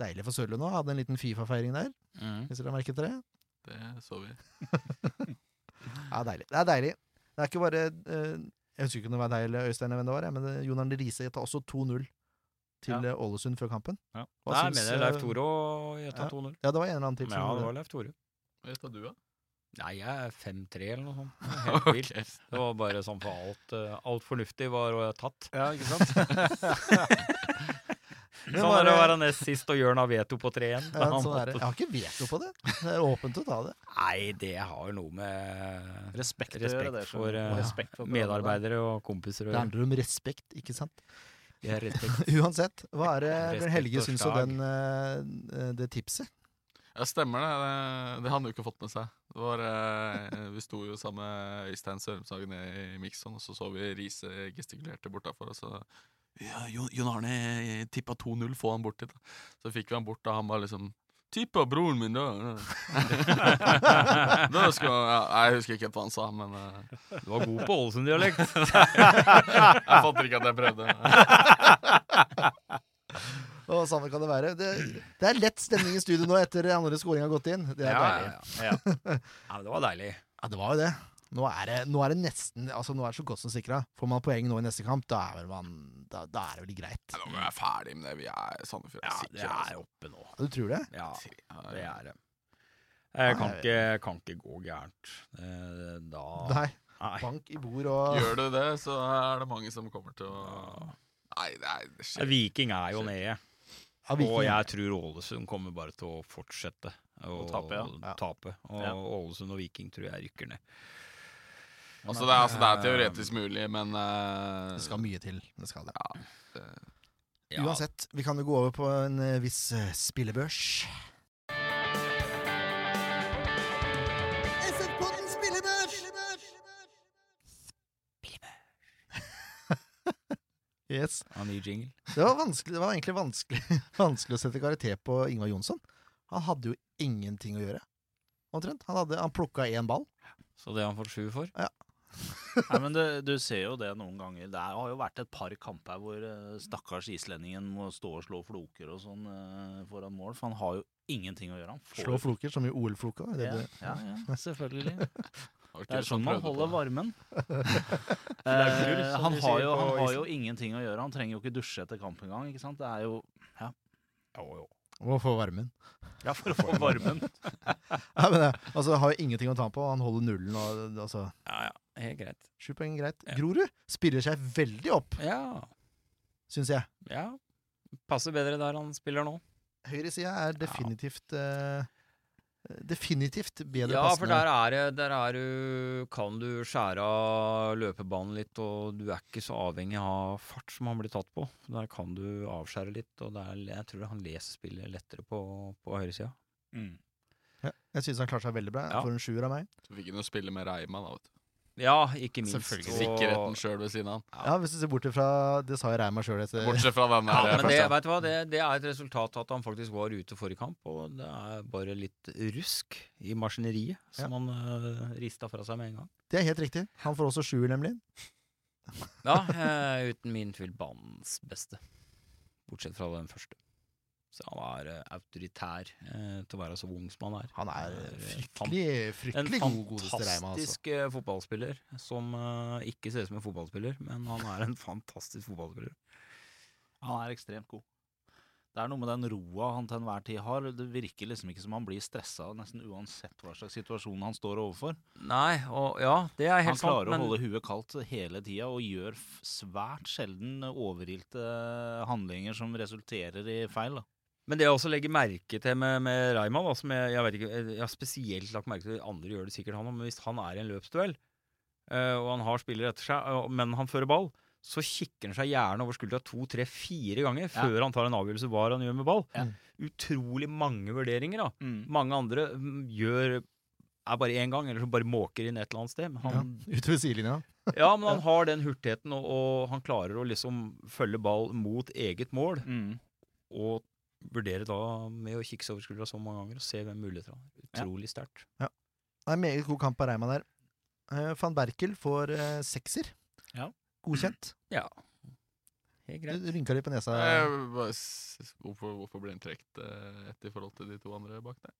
D: Deilig for Sørlund òg. Hadde en liten Fifa-feiring der,
F: Mm.
D: hvis dere har merket dere.
E: Det så vi.
D: Ja, deilig. Det er deilig. Det er ikke bare eh, Jeg husker ikke om det var deg eller Øystein, eller hvem det var, jeg, men eh, Jon Arne Riise tar også 2-0 til
F: Ja.
D: eh, Ålesund før kampen.
F: Ja.
D: Hva
F: Der
D: syns,
F: mener jeg Leif
D: eh,
F: Tore og Gjøta
D: ja. sånn,
F: 2-0.
D: Ja, det var en eller annen til. som
F: Ja,
D: gjorde
F: det
D: det.
F: var Leif Tore.
E: Hva tar du, da?
F: Nei, jeg er 5-3 eller noe sånt. Det er Helt vilt. Det var bare sånn for alt, eh, alt fornuftig var eh, tatt.
G: Ja, ikke sant?
D: Men
F: Sånn
D: var
F: er det å
D: det-
F: være nest sist, og Jørn har veto på 3-1.
D: Ja, sånn er det. Jeg har ikke veto på det. Det er åpent å ta det.
F: Nei, det har jo noe med
G: Respekt, å gjøre,
F: Respekt
G: det, skjønner
F: for,
G: du.
F: eh,
G: respekt for hverandre.
F: medarbeidere og kompiser å
D: Det
F: gjøre.
D: handler om respekt, ikke sant?
F: Jeg har respekt.
D: Uansett, hva er det
F: Respekt
D: Bjørn Helge
F: og
D: syns om
F: slag.
D: den, eh, det tipset?
E: Ja, stemmer det. det. Det hadde han jo ikke fått med seg. Det var, eh, vi sto jo sammen med Øystein Sørumshagen i Mikson, og så så vi Riise gestikulerte bortafor. Og så ja, Jon Jon Arne tippa 2-0, få han bort dit. da. Så fikk vi han bort, da han var liksom Tippa broren min, da! da skal, ja, jeg husker ikke helt hva han sa, men eh,
F: Du var god på Ålesund-dialekt.
E: jeg fatter ikke at jeg prøvde.
D: Og samme kan det være. Det, det er lett stemning i studio nå etter andre scoring har gått inn. Det er deilig.
F: ja. ja. Ja, men det var deilig.
D: Ja, det var jo det. Nå er det, nå er det nesten altså nå er det så godt som sikra. Får man poeng nå i neste kamp, da er, vel man, da, da er det vel greit.
E: Nå må vi være ferdig med det. Vi er Sandefjord.
F: Ja,
E: er
F: det
E: sikre,
F: er
E: altså.
F: oppe nå.
D: Ja, Du tror det?
F: Ja, det
E: Ja,
F: er det. Jeg kan
D: Nei.
F: ikke, kan ikke gå gærent. Eh, Da
D: Nei.
F: Nei.
D: Bank i bord og
E: Gjør du det, så er det mange som kommer til å Nei, det er det skjer.
F: Viking er jo nede.
D: Ja, Viking.
F: Og jeg tror Ålesund kommer bare til å fortsette å
G: Å tape, ja.
D: Ja.
F: tape. Og
G: Ja.
F: Ålesund og Viking tror jeg rykker ned.
E: Altså det, er, altså, det er teoretisk mulig, men eh,
D: Det skal mye til. Det skal det.
F: Ja,
D: Uansett, vi kan jo gå over på en eh, viss eh, spillebørs.
B: SF-podden spillebørs!
D: Yes.
F: av ny jingle.
D: Det var, vanskelig, det var egentlig vanskelig, vanskelig å sette karakter på Ingvar Jonsson. Han hadde jo ingenting å gjøre, omtrent. Han, hadde- han plukka én ball.
F: Så det har han fått sju for.
G: Nei, men du, du ser jo det noen ganger. Det er- har jo vært et par kamper hvor eh, stakkars islendingen må stå og slå floker og sånn eh, foran mål, for han har jo ingenting å gjøre. Han får
D: Slå floker som i OL-floka. er det
G: Ja,
D: det-
G: ja, ja, selvfølgelig.
E: var
G: Det
E: ikke liksom
G: er
E: det
G: sånn man
E: prøvde på
G: holder
E: det.
G: varmen.
F: Lagrul,
G: Eh,
F: som
G: han har
F: de sier
G: jo, han
F: på
G: har jo ingenting å gjøre. Han trenger jo ikke dusje etter kamp engang. ikke sant? Det er jo
D: Må få varmen. eh,
G: Ja, for å få varmen.
D: Ja, men, det- altså, har jo ingenting å ta på. Han holder nullen og altså
F: Ja, ja. Helt greit.
D: Sju poeng, greit.
F: Ja.
D: Grorud spiller seg veldig opp,
F: Ja.
D: syns jeg.
F: ja. Passer bedre der han spiller nå.
D: Høyresida er
F: Ja.
D: definitivt eh, Definitivt bedre
F: Ja, for
D: passende.
F: der er det Der er du Kan du skjære av løpebanen litt, og du er ikke så avhengig av fart som han blir tatt på. Der kan du avskjære litt, og det er, jeg tror han leser spillet lettere på, på høyresida.
G: Mm.
D: Jeg syns han klarer seg veldig bra.
F: Ja.
D: Får en sjuer av meg.
E: Så fikk han jo spille med Reima, da, vet du.
F: Ja, ikke minst.
E: Selvfølgelig.
F: og-
E: Sikkerheten sjøl ved siden av han.
D: Ja, hvis du ser bort fra Det sa jeg Reima sjøl etter
E: Bortsett fra den der
F: Ja, men det,
E: første.
F: vet du hva, det, det er et resultat av at han faktisk var ute forrige kamp, og det er bare litt rusk i maskineriet som han uh, rista fra seg med en gang.
D: Det er helt riktig. Han får også sjuer, nemlig.
F: Ja, eh, uten min tvil banens beste, bortsett fra den første. Så han er eh, autoritær eh, til å være så ung som han er.
D: Han er
F: eh, fan-
D: fryktelig,
F: en
D: fryktelig god, godeste Reima. Altså.
F: fantastisk eh, fotballspiller, som eh, ikke ser ut som en fotballspiller, men han er en fantastisk fotballspiller.
G: Han er ekstremt god. Det er noe med den roa han til enhver tid har. Det virker liksom ikke som han blir stressa nesten uansett hva slags situasjon han står overfor.
F: Nei, og ja, det er
G: Han
F: helt sant,
G: klarer
F: men
G: å holde huet kaldt hele tida og gjør f- svært sjelden overilte handlinger som resulterer i feil. Da.
F: Men det jeg også legger merke til med, med Reima, da, som jeg, jeg, vet ikke, jeg har spesielt lagt merke til Andre gjør det sikkert, han òg, men hvis han er i en løpsduell, eh, og han har spiller etter seg, eh, men han fører ball, så kikker han seg gjerne over skuldra to, tre, fire ganger før han tar en avgjørelse hva han gjør med ball.
G: Ja.
F: Utrolig mange vurderinger. da. Mange andre mm, gjør er bare én gang, eller så bare måker inn et eller annet sted. Men han,
D: Utover sidelinja.
F: ja. men han har den hurtigheten, og, og han klarer å liksom følge ball mot eget mål
G: Mm.
F: og vurdere da med å kikke seg over skuldra så mange ganger og se hvem muligheter han har. Utrolig sterkt.
D: Det er en meget god kamp av Reima der. Eh, Van Berkel får eh, sekser.
G: Ja.
D: Godkjent.
F: Helt
D: Du rynka litt på nesa.
E: Eh, bare s- Hvorfor, hvorfor ble han trukket eh, ett i forhold til de to andre bak der?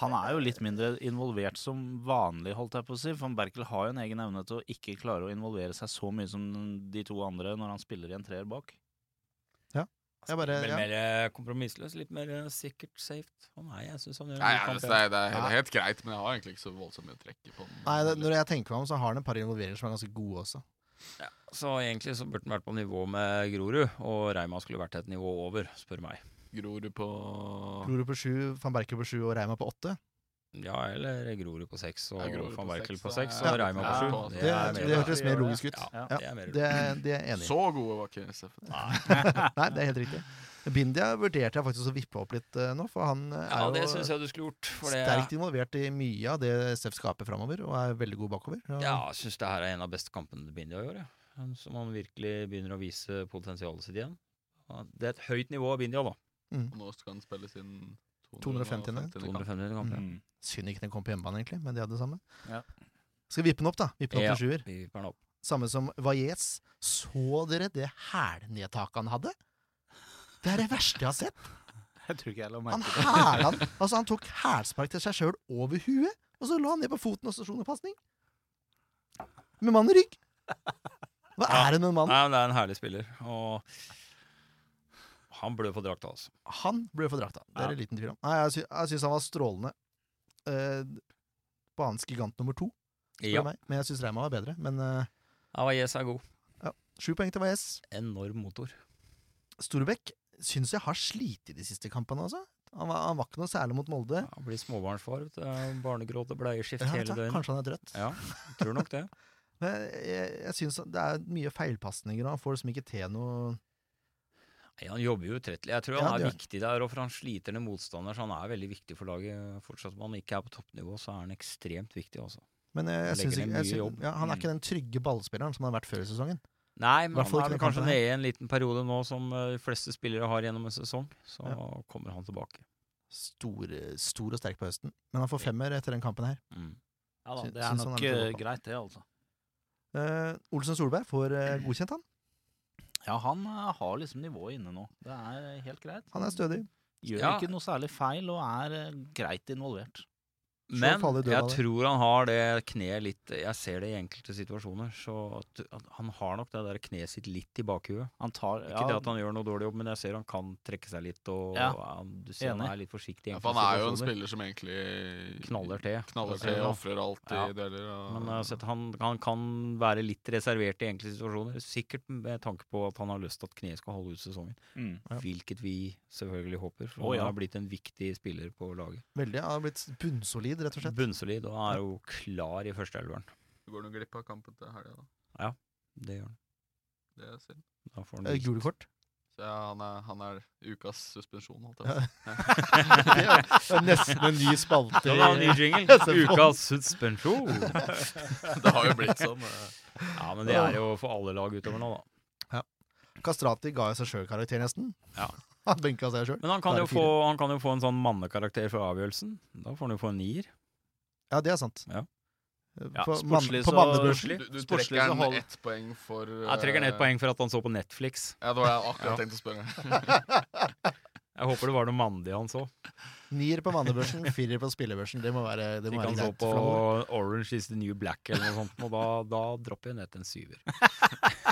G: Han er jo litt mindre involvert som vanlig, holdt jeg på å si. Van Berkel har jo en egen evne til å ikke klare å involvere seg så mye som de to andre når han spiller i en treer bak.
D: Jeg bare,
F: Litt
D: ja.
F: mer eh, kompromissløs, litt mer eh, sikkert safe. Å nei, jeg syns han gjør en
E: Nei,
F: god
E: jeg,
F: kamp, ja.
E: det, er, det er helt greit, men jeg har egentlig ikke så voldsomt mye å trekke på den.
D: Nei, det, når jeg tenker meg om, så har han et par involveringer som er ganske gode også.
F: Så egentlig så burde han vært på nivå med Grorud, og Reima skulle vært et nivå over, spør meg.
E: Gror du på
D: Grorud på sju, Van Berkel på sju og Reima på åtte.
F: Ja, eller Grorud på seks og
E: Ja, Grorud
F: van
E: på
F: Berkel
E: seks,
F: på
E: da
F: seks
E: er-
F: og Reima på
G: Ja,
F: sju.
E: på-
D: Det,
E: er
D: det,
E: mer-
D: hørtes mer logisk ut.
F: Ja,
D: Ja,
F: det er mer
D: Det, det er jeg enig i.
E: Så gode var ikke SF.
D: Nei, det er helt riktig. Bindia vurderte jeg faktisk å vippe opp litt eh, nå, for han eh,
F: Ja,
D: er
F: det
D: jo
F: syns jeg du skulle gjort. For det,
D: sterkt involvert i mye av det SF skaper framover, og er veldig god bakover. Og-
F: Ja, jeg syns det her er en av beste kampene til Bindia i år. Ja. Som han virkelig begynner å vise potensialet sitt igjen. Ja, Det er et høyt nivå av Bindia, da.
D: mm,
E: Og nå skal han spille sin
D: 250.
E: 250.
F: 250 kamp, ja.
G: Mm.
D: Synd ikke den kom på hjemmebane, egentlig, men de hadde det samme.
G: Ja.
D: Skal vippe den opp, da. Vippe den opp til sjuer.
F: Vi vipper den opp.
D: Samme som Vajez. Så dere det hælnedtaket han hadde? Det er det verste jeg har sett.
G: Jeg tror ikke jeg la
D: Han
G: merke til det.
D: hæla han- Altså, han tok hælspark til seg sjøl over huet, og så la han ned på foten og stasjonepasning. Med mann i rygg. Hva er det med mannen?
F: Nei, men det er en herlig spiller. Og han blør på drakta, altså.
D: Han ble fordrakta. Det er det liten tvil om. Nei, jeg, sy jeg syns han var strålende. Eh, banens gigant nummer to, spør
F: Ja.
D: du meg. Men jeg syns Reima var bedre. Men eh,
F: Ja, Yes er god.
D: sju poeng til Vajez.
F: Enorm motor.
D: Storbekk syns jeg har slitt i de siste kampene, altså. Han var, han var ikke noe særlig mot Molde.
F: Ja, han blir småbarnsfar. vet du. Barnegråt og bleieskift
D: Ja,
F: hele
D: vet du,
F: døgnet.
D: kanskje han er trøtt.
F: Ja, tror nok det.
D: Men jeg, jeg syns det er mye feilpasninger, og han får liksom ikke til noe
F: Nei, han jobber jo utrettelig. Jeg tror
D: Ja, det
F: han er
D: gjør han.
F: viktig der, og for han sliter ned motstander, så han er veldig viktig for laget fortsatt. Om han ikke er på toppnivå, så er han ekstremt viktig, altså.
D: Men eh, jeg, jeg
F: Legger
D: syns
F: ned
D: ikke jeg
F: mye
D: syns-
F: jobb.
D: ja, Han er ikke den trygge ballspilleren som han har vært før i sesongen.
F: Nei, men
D: Hvert fall
F: han
D: ikke
F: er vel
D: den
F: kanskje
D: kampen her.
F: nede i en liten periode nå som eh, de fleste spillere har gjennom en sesong. Så kommer han tilbake.
D: Stor, eh, stor og sterk på høsten. Men han får femmer etter den kampen her.
F: Mm.
G: Ja da,
D: Syn-
G: det er
D: syns han
G: nok
D: er litt
G: eh,
D: overpå.
G: greit, det, altså.
D: Eh, Olsen Solberg får eh, godkjent, han.
G: Ja, han eh, har liksom nivået inne nå. Det er eh, helt greit.
D: Han er stødig.
G: Gjør
F: Ja.
G: ikke noe særlig feil og er eh, greit involvert.
F: Men
D: farlig død av
F: jeg
D: det.
F: tror han har det kneet litt Jeg ser det i enkelte situasjoner. Så at, at han har nok det der kneet sitt litt i bakhuet.
G: Han tar
F: Ikke
G: ja,
F: det at han gjør noe dårlig jobb, men jeg ser han kan trekke seg litt. Og
G: Ja,
F: han, du ser han
G: enig.
F: er litt forsiktig. i
E: Ja,
F: enkelte
E: for han er jo en
F: situasjoner.
E: spiller som egentlig
F: Knaller til.
E: knaller
F: Altså,
E: til
F: ja.
E: og ofrer alt
F: Ja.
E: i dueller. og-
F: Men eh, jeg har sett han, han kan være litt reservert i enkelte situasjoner. Sikkert med tanke på at han har lyst til at kneet skal holde ut sesongen.
G: Mm.
F: Hvilket vi selvfølgelig håper. For
G: Å, ja.
F: han har blitt en viktig spiller på laget.
D: Veldig. Han har blitt bunnsolid, rett og slett.
F: Bunnsolid og er jo klar i førsteelveren.
E: Du går noe glipp av kampen til helga, da.
F: Det gjør han.
E: Det er synd.
F: Da får han
D: Eh,
F: litt-
D: Gule kort.
E: Så ja, han, er, han er ukas suspensjon, holdt jeg
D: Ja.
E: på å si.
D: Det er jo nesten en ny spalte.
F: Ja, da har vi
D: i-
F: ny jingle. Ukas suspensjon.
E: Det har jo blitt sånn. eh.
F: Ja, men det er jo for alle lag utover nå, da.
D: Kastrati ga jo seg sjøl karakter, nesten.
F: Ja.
D: Han benka seg sjøl.
F: Men han kan,
D: Da er
F: jo
D: det
F: få, han kan jo få en sånn mannekarakter for avgjørelsen. Da får han jo få en nier.
D: Ja, det er sant. Eh,
F: Ja.
G: Ja,
D: på mann-
G: sportslig
D: på
G: så-
D: mannebørsen.
E: Du,
F: Sportslig.
E: du
G: Sportslig
E: trekker
G: så
E: han
G: hold-
E: ett poeng for
F: Jeg trekker ned
E: eh,
F: et poeng for at han så på Netflix.
E: Ja, det var det jeg akkurat tenkte å spørre.
F: Jeg håper det var noe mandig han så.
D: Nier på mannebørsen, firer på spillebørsen. Det må være, det må
F: Ikke
D: være
F: han så
D: greit.
F: på
D: for alle.
F: Orange is the New Black eller noe sånt, og da, da dropper jeg ned til en syver.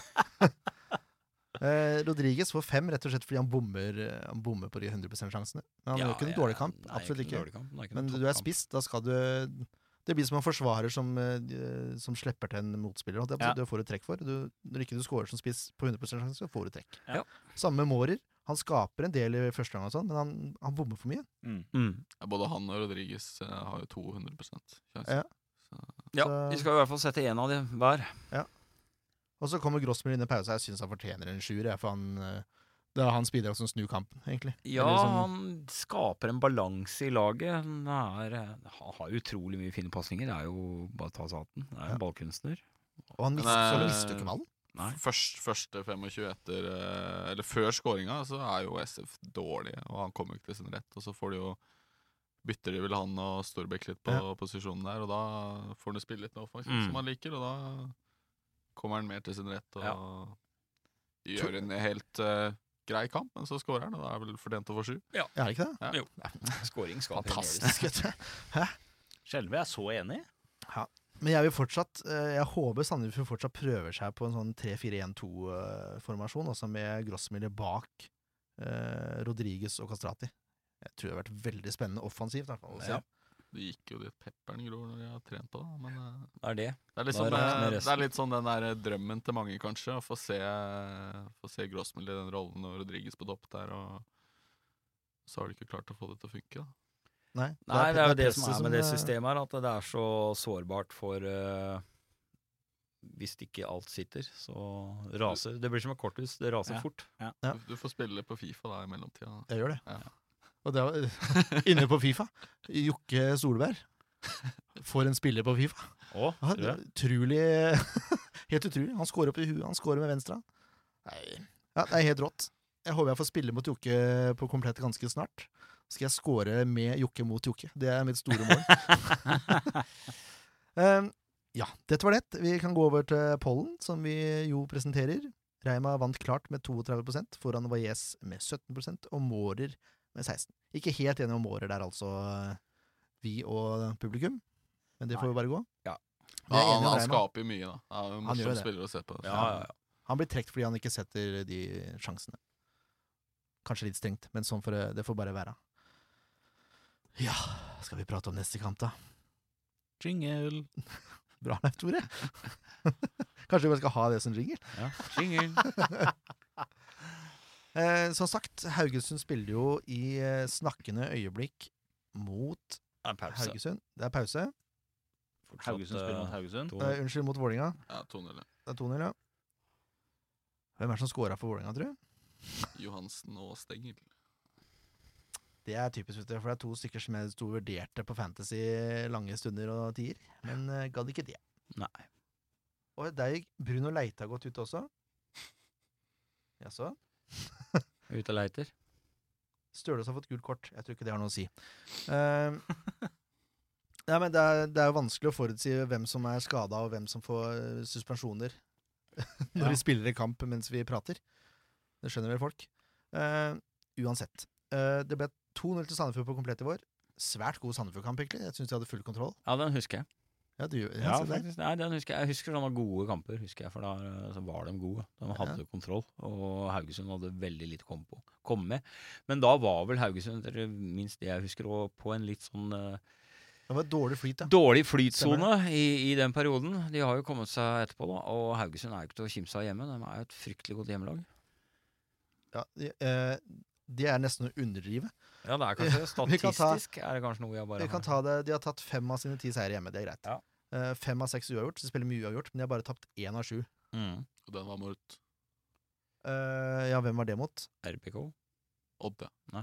D: Eh, Rodriguez får fem, rett og slett fordi han bommer, eh, han bommer på de 100 %-sjansene. Men han
F: Ja,
D: gjør ikke en
F: jeg-
D: dårlig kamp.
F: nei,
D: absolutt
F: noen
D: ikke.
F: dårlig kamp, det ikke
D: Men
F: noen
D: du er
F: toppkamp.
D: spiss, da skal du Det blir som en forsvarer som, eh, som slipper til en motspiller. holdt jeg på å si.
G: Ja.
D: Det får du trekk for. Du, når ikke du scorer som spiss på 100 sjanse, så får du trekk.
G: Ja.
D: Samme med Mårer. Han skaper en del i første gang, og sånn, men han, han bommer for mye.
G: Mm.
F: Mm.
E: Ja, Både han og Rodriguez eh, har jo 200 sjanse.
D: Ja.
F: Ja,
D: Så-
F: vi skal i hvert fall sette én av de hver.
D: Og så kommer Grossmiller inn i pause. Jeg syns han fortjener en sjuer. jeg, For han, eh, det er hans bidrag som snur kampen, egentlig.
F: Ja,
D: Eller liksom- som-
F: han skaper en balanse i laget. Han, er, han har utrolig mye fine pasninger. Det er jo bare å ta seg av den. Det er jo en ballkunstner.
D: og han
E: Men,
D: mister, så
E: eh,
D: mister du ikke ballen.
F: Nei.
E: Først, første 25 etter eh, Eller før scoringa så er jo SF dårlige, og han kommer jo ikke til sin rett. Og så får de jo bytter de vel han og Storbekk litt på posisjonen der, og da får han jo spille litt mer offensivt
F: Mm.
E: som han liker, og da kommer han mer til sin rett og gjør en helt eh, grei kamp, men så scorer han, og da er vel fortjent å få sju.
D: Er det ikke det?
F: Skåring skal
D: Fantastisk, vet du.
G: Sjelden vi er så enige.
D: Men jeg vil fortsatt eh, Jeg håper Sandefjord fortsatt prøver seg på en sånn 3-4-1-2-formasjon, altså med Grossmiller bak eh, Rodriguez og Kastrati. Jeg tror det har vært veldig spennende offensivt. i hvert fall, å se.
F: Ja.
E: Det gikk jo dit pepperen gror når de har trent på det, men eh,
F: Det er det.
E: Det er, litt
F: Da
E: sånn,
F: rakner
E: eh, det
F: resten.
E: er litt sånn den der eh, drømmen til mange, kanskje. Å få se, få se Grossmill i den rollen og Rodriguez på topp der. Og så har de ikke klart å få det til å funke. Da.
D: Nei,
F: Nei, det er jo det
D: presset
F: som er med det
D: eh,
F: systemet her, at det er så sårbart for eh, Hvis ikke alt sitter, så raser Det blir som et korthus, det raser
G: Ja.
F: fort.
D: Ja.
E: Du, du får spille på Fifa da i mellomtida. da.
D: Jeg gjør det.
E: Ja.
D: Og det var inne på Fifa. Jokke Solberg. For en spiller på Fifa. Ja,
F: Å, tror jeg.
D: utrolig Helt utrolig. Han scorer opp i huet, han scorer med venstre. Nei. Ja, det er helt rått. Jeg håper jeg får spille mot Jokke på komplett ganske snart. Så skal jeg score med Jokke mot Jokke. Det er mitt store mål. um, ja, dette var det. Vi kan gå over til pollen, som vi jo presenterer. Reima vant klart med 32 foran Valles med 17 og Mårer med 16 Ikke helt enige om Mårer der, altså, vi og publikum. Men det får
G: Nei.
D: jo bare gå.
F: Ja.
D: Vi er
E: Ja, han,
D: enige om
E: han
D: Reima.
E: skaper jo mye, da. Han er en
D: Han gjør
E: morsom
D: det.
E: spiller å se på.
F: Ja, ja, ja.
D: Han blir trukket fordi han ikke setter de sjansene. Kanskje litt strengt, men sånn får det, det får bare være. Ja, skal vi prate om neste kamp, da?
G: Jingle.
D: Bra, Leif Tore. Kanskje vi bare skal ha det som ringer?
F: Ja. Jingle.
D: Eh, som sagt, Haugesund spiller jo i eh, snakkende øyeblikk mot
F: Det er pause.
D: Haugesund. Det er pause.
F: Fortsatt,
G: Haugesund spiller mot
F: eh,
G: Haugesund.
F: to-
D: Eh, unnskyld, mot Vålinga.
E: Ja, 2-0.
D: Det er 2-0, ja. Hvem er det som scora for Vålinga, tror du?
E: Johansen og Stengel.
D: Det er typisk, vet du, for det er to stykker som jeg sto og vurderte på Fantasy lange stunder og tider, men uh, gadd ikke det.
F: Nei.
D: Og der gikk Bruno Leita godt ut også. Jaså?
F: Ute og leiter.
D: Stølås har fått gult kort. Jeg tror ikke det har noe å si. Ehm, nei, men det er, det er jo vanskelig å forutsi hvem som er skada, og hvem som får eh, suspensjoner når de spiller i kamp mens vi prater. Eh, Det skjønner vel folk. Ehm, uansett. Eh, det ble 2-0 til Sandefjord på komplett i vår. svært god Sandefjord-kamp, egentlig. Jeg syns de hadde full kontroll.
F: Ja, den husker jeg.
D: Ja, du, ja,
F: Ja,
D: se der.
F: faktisk. Nei, den husker jeg. jeg husker sånne gode kamper, husker jeg, for da eh, så var de gode. De hadde kontroll, og Haugesund hadde veldig lite å komme på- komme med. Men da var vel Haugesund, etter minst det jeg husker, og på en litt sånn eh,
D: det var dårlig flyt, ja.
F: dårlig flytsone i, i den perioden. De har jo kommet seg etterpå, da, og Haugesund er jo ikke til å kimse av hjemme. De er jo et fryktelig godt hjemmelag.
D: ja de, eh, de er nesten å underdrive.
F: Ja, det er kanskje
D: Vi kan ta-
F: statistisk er det kanskje noe jeg bare
D: Vi kan ta det, de har tatt fem av sine ti seire hjemme, det er greit.
F: Ja.
D: Eh, fem av seks uavgjort, så de spiller mye uavgjort, men de har bare tapt én av sju.
F: Mm.
E: Og den var mot
D: Eh, ja, hvem var det mot?
F: RBK.
E: Odd, ja.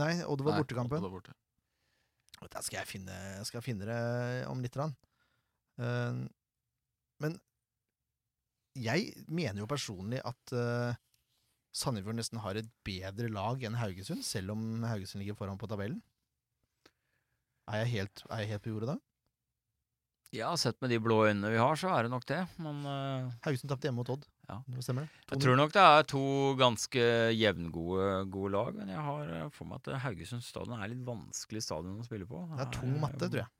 D: Nei, og det var
E: Nei,
D: bortekampen.
E: Odd var borte.
D: Der skal jeg finne, jeg skal finne det om litt. Rann. Eh, men jeg mener jo personlig at uh, Sandefjord nesten har et bedre lag enn Haugesund, selv om Haugesund ligger foran på tabellen. Er jeg helt, er jeg helt på jordet da?
F: Ja, sett med de blå øynene vi har, så er det nok det. Men eh,
D: Haugesund tapte hjemme mot Odd.
F: Ja.
D: Det stemmer det.
F: Jeg tror nok det er to ganske jevngode gode lag, men jeg har eh, for meg at Haugesund stadion er litt vanskelig stadion å spille på. Eh,
D: Det er tung matte, tror jeg.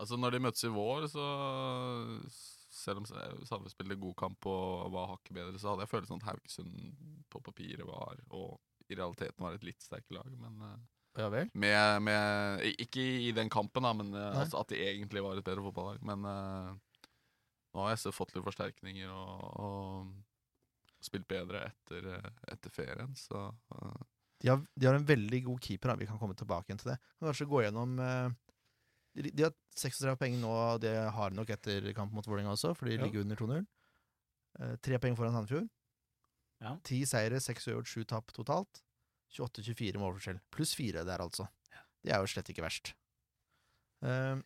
E: Altså, når de møttes i vår, så Selv om Sandefjord spilte god kamp og var hakket bedre, så hadde jeg følelsen at Haugesund på papiret var, og i realiteten var et litt sterkere lag, men eh,
D: Ja vel.
E: med, med i- Ikke i den kampen, da, men eh,
D: Nei.
E: altså, at det egentlig var et bedre fotballag. Men eh, nå har SV fått litt forsterkninger og, og spilt bedre etter, eh, etter ferien, så eh,
D: De har, de har en veldig god keeper, da. vi kan komme tilbake igjen til det. Vi kan kanskje gå gjennom eh, de, de har 36 poeng nå, og det har de nok etter kamp mot Vålerenga også, for de
F: Ja.
D: ligger under 2-0. Eh, Tre poeng foran Sandefjord.
G: Ja.
D: Ti seire, seks uavgjort, sju tap totalt. 28-24 målforskjell. Pluss fire der, altså. Det er jo slett ikke verst. Eh,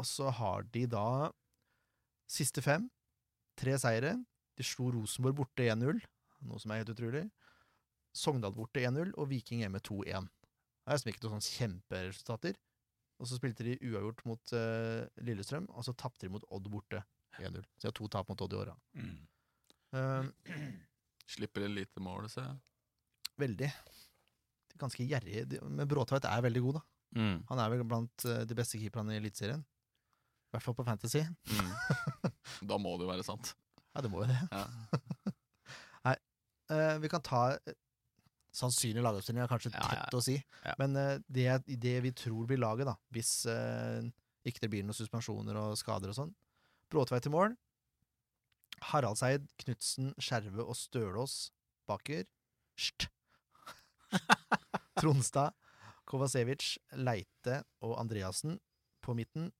D: og så har de da siste fem. Tre seire. De slo Rosenborg borte 1-0, noe som er helt utrolig. Sogndal borte 1-0 og Viking hjemme 2-1. Det er liksom ikke noen sånne kjemperesultater. Og så spilte de uavgjort mot eh, Lillestrøm, og så tapte de mot Odd borte 1-0. Så de har to tap mot Odd i år, da. Eh,
E: slipper inn lite mål, så
D: veldig. Ganske gjerrig. De- Men Bråtveit er veldig god, da.
F: Mm.
D: Han er vel blant eh, de beste keeperne i Eliteserien. I hvert fall på Fantasy.
E: da må det jo være sant.
D: Ja, det må jo det.
E: Ja.
D: Nei, eh, vi kan ta eh, Sannsynlig lagoppstilling er kanskje
F: Ja, ja,
D: tett å si,
F: ja.
D: men eh, det, det vi tror blir laget, da, hvis eh, ikke det blir noen suspensjoner og skader og sånn Bråtveit til mål. Haraldseid, Knutsen, Skjerve og Stølås baker. St. Tronstad, Kovacevic, Leite og Andreassen på midten,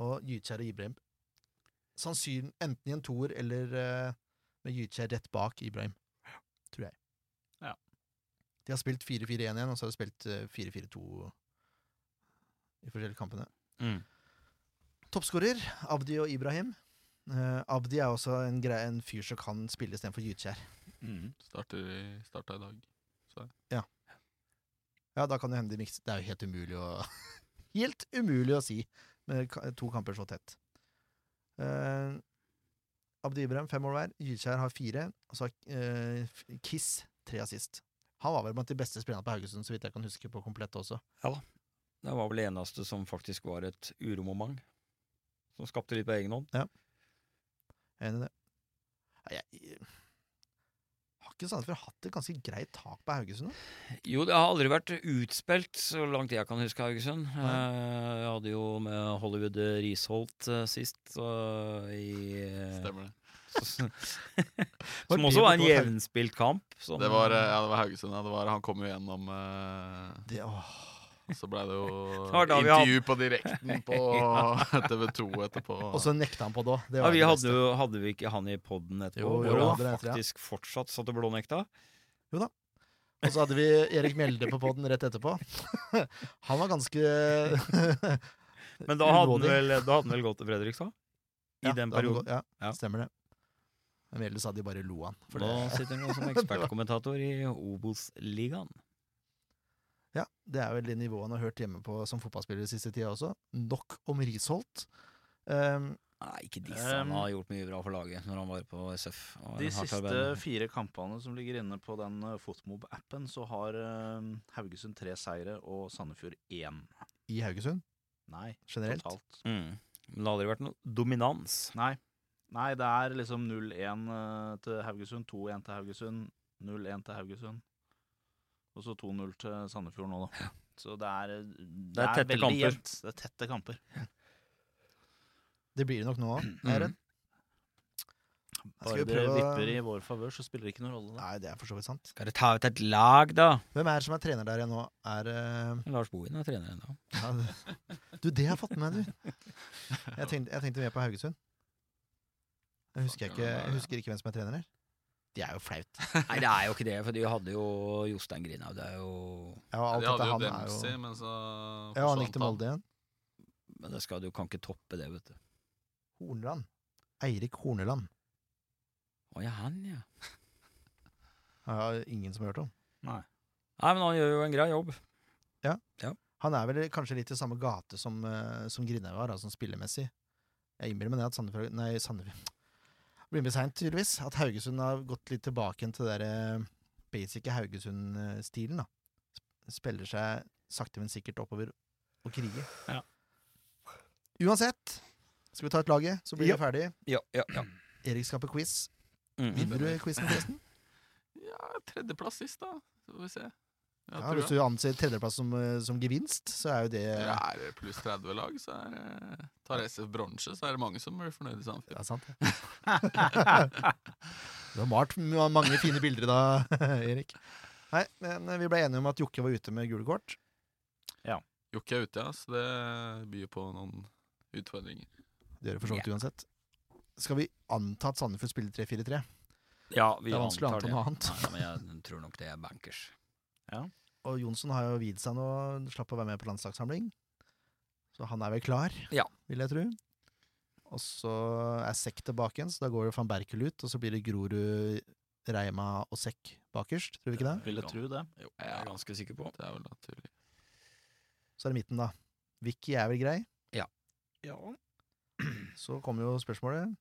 D: og Gytkjær og Ibrahim sannsynlig enten i en toer eller eh, med Gytkjær rett bak Ibrahim, tror jeg.
G: Ja.
D: De har spilt 4-4-1 igjen, og så har de spilt eh, 4-4-2 i forskjellige kampene.
F: Mm.
D: Toppskårer, Abdi og Ibrahim. Eh, Abdi er også en, grei, en fyr som kan spille istedenfor Gytkjær.
E: Mhm. Mm-hmm. Starter i- Starta i dag.
D: Ja, da kan det hende de mikser Det er jo helt umulig å Helt umulig å si med ka- to kamper så tett. Eh, Abdi Ibrahim fem mål hver. Gytkjær har fire. Og så har eh, F- Kiss tre assist. Han var vel blant de beste spillerne på Haugesund, så vidt jeg kan huske, på komplett også.
F: Det var vel det eneste som faktisk var et uromoment. Som skapte litt på egen hånd.
D: Jeg er Enig i det. Nei, Jeg, jeg har ikke Sandefjord hatt et ganske greit tak på Haugesund? da?
F: Jo, det har aldri vært utspilt, så langt jeg kan huske Haugesund. Eh, Jeg hadde jo med Hollywood Risholt eh, sist, så i
E: Stemmer det.
F: Som også var en jevnspilt kamp. som-
E: Det var, eh, ja, det var Haugesund. Ja, det var, han kom jo gjennom eh,
D: Det, åh,
E: Og så blei det jo
F: var da vi
E: intervju på direkten på TV2 etterpå.
D: og så nekta han på det òg. Det
F: Ja,
D: var
F: vi
D: det
F: hadde,
D: beste.
F: jo, hadde vi ikke han i poden etterpå,
D: Jo, jo,
F: hvor
D: vi hadde
F: han
D: det etter, ja.
F: faktisk fortsatt satt og blånekta?
D: Og så hadde vi Erik Mjelde på poden rett etterpå. Han var ganske
F: Men da hadde han
D: Ulovlig.
F: vel, da hadde han vel gått til Fredrikstad? I
D: Ja,
F: den
D: da må
F: perioden?
D: gå- Ja,
F: Ja.
D: stemmer det. Men ellers hadde de bare lo han. For
F: For da
D: det,
F: sitter han jo som ekspertkommentator i Obos-ligaen.
D: ja, det er vel det nivået han har hørt hjemme på som fotballspiller de siste tida også. Nok om Risholt. Ehm,
F: Nei, ikke disse. Han
G: Um,
F: har gjort mye bra for laget når han var på SF. og
G: De
F: en hardt
G: siste
F: arbeidende-
G: fire kampene som ligger inne på den eh, Fotmob-appen, så har eh, Haugesund tre seire og Sandefjord én.
D: i Haugesund
G: Nei,
D: generelt.
G: totalt.
F: Mm. Men det har aldri vært noe dominans.
G: Nei. Nei, det er liksom 0-1 eh, til Haugesund, 2-1 til Haugesund, 0-1 til Haugesund. Og så 2-0 til Sandefjord nå, da. Så det er, eh, det
F: er tette
G: veldig
F: kamper.
G: Jevnt. Det er tette kamper.
D: Det blir det nok nå òg.
F: Mm.
D: Skal
G: Bare
D: vi
G: det
D: prøve å-
G: vipper i vår favør, så spiller det ikke noen rolle. Da.
D: Nei, det er for så vidt sant.
F: Skal det ta ut et lag, da?
D: Hvem er det som er trener der igjen nå? Er eh,
F: Lars Bohin er trener ennå.
D: ja, det- Du, det har jeg fått med meg, du. Jeg tenkte, jeg tenkte mer på Haugesund. Jeg husker, ikke, jeg husker ikke hvem som er trener her. Det er jo flaut.
F: Nei, det er jo ikke det, for de hadde jo Jostein Grinhaug. Det er jo
D: Ja, og alt
E: de
D: dette
E: hadde jo
D: han er
E: Dempsey,
D: jo
E: men så
D: Ja, han
E: forsvant
D: gikk til Molde igjen.
F: Men det skal, du kan ikke toppe det, vet du.
D: Horneland. Eirik Horneland.
F: Å ja, han, ja.
D: Jeg har ingen som har hørt om.
F: Nei, men han gjør jo en grei jobb.
D: Han er vel kanskje litt i samme gate som, uh, som Grindhaug var, altså spillemessig. Jeg innbiller meg det at Sandefjord Nei, Sandefjord Det blir med seint, tydeligvis. At Haugesund har gått litt tilbake igjen til den derre basic Haugesund-stilen, da. Sp- Spiller seg sakte, men sikkert oppover og kriger.
A: Ja.
D: Uansett, skal vi ta ut laget, så blir
F: Ja.
D: vi ferdig.
F: Ja, ja, ja.
D: Erik skal på quiz.
F: Mm.
D: Vinner du quizen, forresten?
E: Ja, tredjeplass sist, da. Så får vi se. Jeg
D: Ja,
E: tror
D: hvis
E: det.
D: du anser tredjeplass som, eh, som gevinst, så er jo det
E: Ja, Er det pluss 30 lag, så er det Tar SF bronse, så er det mange som blir fornøyd i
D: Det
E: Sandefjord.
D: er sant, det. du har malt ma- mange fine bilder da, Erik. Nei, men eh, vi ble enige om at Jokke var ute med gule kort.
E: Jokke er ute, ja, så det byr på noen utfordringer.
D: Det gjør det for så vidt uansett. Skal vi anta at Sandefjord spiller 3-4-3?
F: ja vi
D: Det er vanskelig å anta
F: antar det.
D: noe annet.
F: Nei, men jeg tror nok det er bankers.
D: Og Jonsson har jo vidd seg nå, slapp å være med på landslagssamling. Så han er vel klar,
F: Ja.
D: vil jeg tro. Og så er Sekk tilbake igjen, så da går det van Berkel ut, og så blir det Grorud, Reima og Sekk bakerst, tror vi ikke det?
G: Vil jeg tro det.
F: Jo, jeg er ganske sikker på.
E: Det er vel naturlig.
D: Så er det midten, da. Vicky er vel grei?
F: Ja.
D: Så kommer jo spørsmålet.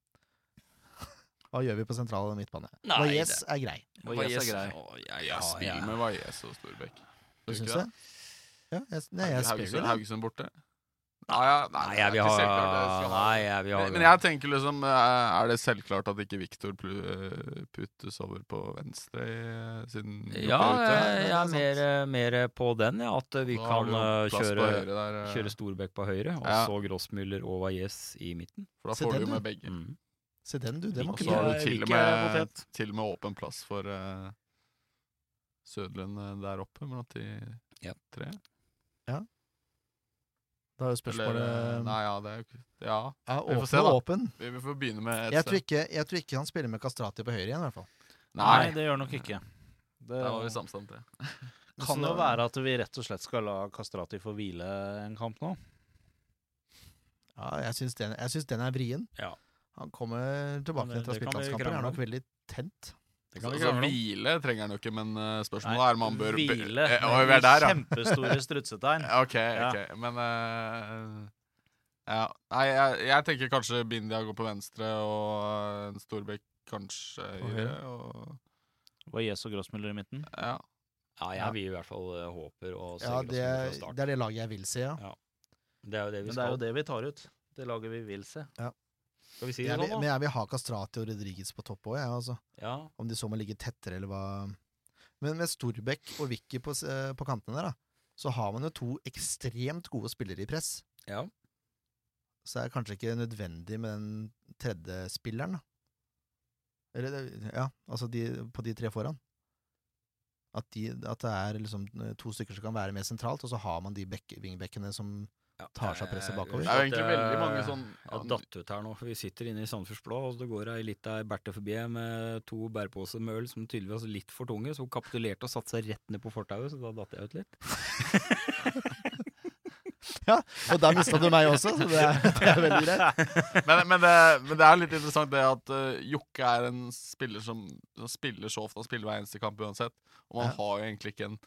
D: Hva gjør vi på sentral midtbane?
F: Nei,
D: Valles er grei.
G: Og Jess er grei.
F: Å, ja,
E: Jeg
F: ja,
E: spiller
F: ja.
E: med Valles og Storbekk.
D: Du
E: Gjør
D: syns
E: ikke
D: det? Ja, jeg, nei, jeg spiller vel
E: Haugesund,
D: det.
E: Haugesund borte? Nei, ja, nei,
F: Nei,
E: det er
F: jeg vil
E: ikke
F: ha
E: selvklart det skal ha-
F: Nei, jeg vil ha
E: Men, men jeg tenker liksom eh, Er det selvklart at ikke Viktor puttes over på venstre i- eh, siden Jokke
F: Ja,
E: er ute?
F: jeg, jeg
D: Ja,
F: er
D: det
F: mer, eh, mer på den, ja, at vi
E: Da har
F: kan
E: du jo
F: eh,
E: plass på
F: kjøre,
E: høyre der, eh,
F: kjøre Storbekk på høyre, og
E: Ja.
F: så Grossmüller og Valles i midten.
E: For da
D: Se
E: får
D: den,
E: du jo
D: du.
E: med begge.
F: Mm.
D: Se den, du. Den var
E: Og
D: ikke
E: så har
D: dårlig.
E: du til og
F: Vicky er
E: med,
F: potet.
E: til og med åpen plass for eh, Sødlund eh, der oppe blant de
F: Ja.
E: tre.
D: Da er jo
E: Eller, eh,
D: spørsmålet
E: Nei, ja, det er jo ikke Ja,
D: ja,
E: vi får
D: åpen,
E: se, da.
D: og åpen.
E: vi, vi får begynne med et
D: Jeg tror,
E: sted.
D: ikke, jeg tror ikke han spiller med Kastrati på høyre igjen, i hvert fall.
G: Nei, det gjør nok ikke. Det
E: Der var vi samstemt, det.
G: kan jo være at vi rett og slett skal la Kastrati få hvile en kamp nå.
D: Ja, jeg syns den, jeg syns den er vrien.
F: Ja.
D: Han kommer tilbake
F: Men det-
D: til å ha
F: det
D: spilt
F: kan vi
D: landskamper.
F: krangle
D: Er
F: om.
D: nok veldig tent.
F: Det
E: Så,
F: kan vi
E: så
F: krangle om.
E: Altså, hvile trenger han jo ikke, men eh, spørsmålet
G: Nei,
E: er om han bør
G: hvile.
E: Eh,
G: med
E: Oi, vi er der, ja.
G: Kjempestore strutsetegn.
E: Ok, ok. Men eh, ja. Nei, jeg, jeg tenker kanskje Bindia går på venstre, og eh, Storbekk kanskje høyre. Og,
G: Valles og Grossmuller i midten.
E: ja.
F: Ja, jeg vil i hvert fall eh, håper å se
D: Ja, det,
F: Grossmüller fra start.
D: det er det laget jeg vil se, ja.
F: Det er jo det vi
G: Men det er
F: skal.
G: jo det vi tar ut. Det laget vi vil se.
F: Skal vi si det
D: Jeg vil,
F: sånn,
D: men
F: da?
D: jeg vil ha Kastrati og Rodriguez på topp òg, jeg, altså.
F: Ja.
D: Om de så må ligge tettere, eller hva Men med Storbekk og Vicky på, s- eh, på kantene der, da, så har man jo to ekstremt gode spillere i press.
F: Ja.
D: Så det er kanskje ikke nødvendig med den tredje spilleren, da. Eller, det- ja, altså de, på de tre foran. At, de, at det er liksom to stykker som kan være mer sentralt, og så har man de bekk- wingbackene som
F: Ja,
D: tar seg
F: jeg-
E: eh,
D: presset bakover.
E: Det er jo egentlig
F: jeg-
E: veldig mange sånn
F: Jeg datt ut her nå, for vi sitter inne i Sandefjords Blad, og så går ei lita berte forbi med to bæreposer med øl som tydeligvis var litt for tunge, så hun kapitulerte og satte seg rett ned på fortauet, så da datt jeg ut litt.
D: Og da mista du meg også, så det er, det er veldig greit.
E: men, men, det, men det er litt interessant det at eh, Jokke er en spiller som, som spiller så ofte, han spiller hver eneste kamp uansett. Og man
D: Ja.
E: har jo egentlig ikke en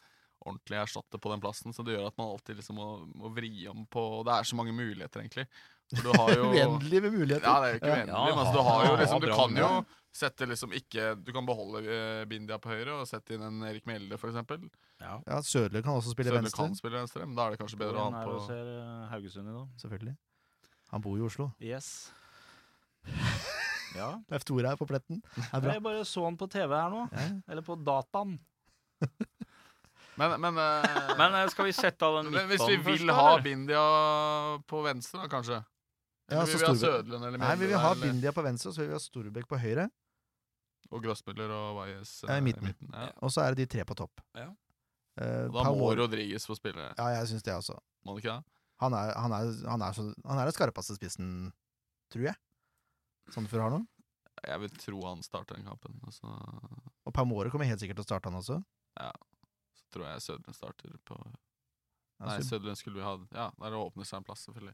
E: ordentlig erstatter på den plassen, så det gjør at man alltid liksom må, må vri om på Det er så mange muligheter, egentlig. For du har jo
D: Uendelig med muligheter.
E: Ja, det er jo ikke uendelig,
F: Ja,
E: men altså,
F: ha-
E: du har jo
F: ha
E: liksom Du
F: bra
E: kan jo
F: program.
E: sette liksom ikke Du kan beholde eh, Bindia på høyre og sette inn en Erik Mjelde, for eksempel.
D: Ja, Sødler kan også spille
E: Sønne
D: venstre.
E: kan spille venstre, men da er det kanskje bedre å
G: Hvordan er
E: ha
G: det
E: han på
G: å se eh, Haugesund i dag?
D: Selvfølgelig. Han bor i Oslo.
G: Yes. Ja.
D: Leif Tore er på pletten. Det er bra.
G: Jeg bare så han på TV her nå.
D: Ja.
G: Eller på dataen.
E: Men, men, eh,
F: Men eh, skal vi sette av den
E: men hvis vi
F: midtbanen først,
E: vil
F: da,
E: ha
F: eller?
E: Bindia på venstre, da kanskje? Eller
D: Ja,
E: vil
D: så
E: vi ha
D: Storbekk-
E: Sødlund eller
D: Nei,
E: Mjelde
D: vi vil ha
E: der, eller-
D: Bindia på venstre, og så vil vi ha Storbekk på høyre.
E: Og Grossmuller og Wajez
D: Ja, i
E: eh,
D: midten.
E: Ja.
D: Og så er det de tre på topp.
F: Ja.
D: Eh,
E: Og Da
D: Pau
E: må
D: Mål-
E: Rodriguez få spille,
D: Ja, jeg syns det også.
E: må han ikke det?
D: Han er, han, er, han, er så, han er den skarpeste spissen, tror jeg. Sandefjord har nå.
E: Jeg vil tro han starter den kampen. Og så,
D: Og Paumore kommer helt sikkert til å starte, han også.
E: så tror jeg Sødlund starter på Nei,
D: Altså,
E: Sødlund skulle vi ha Ja, der åpner seg en plass, selvfølgelig.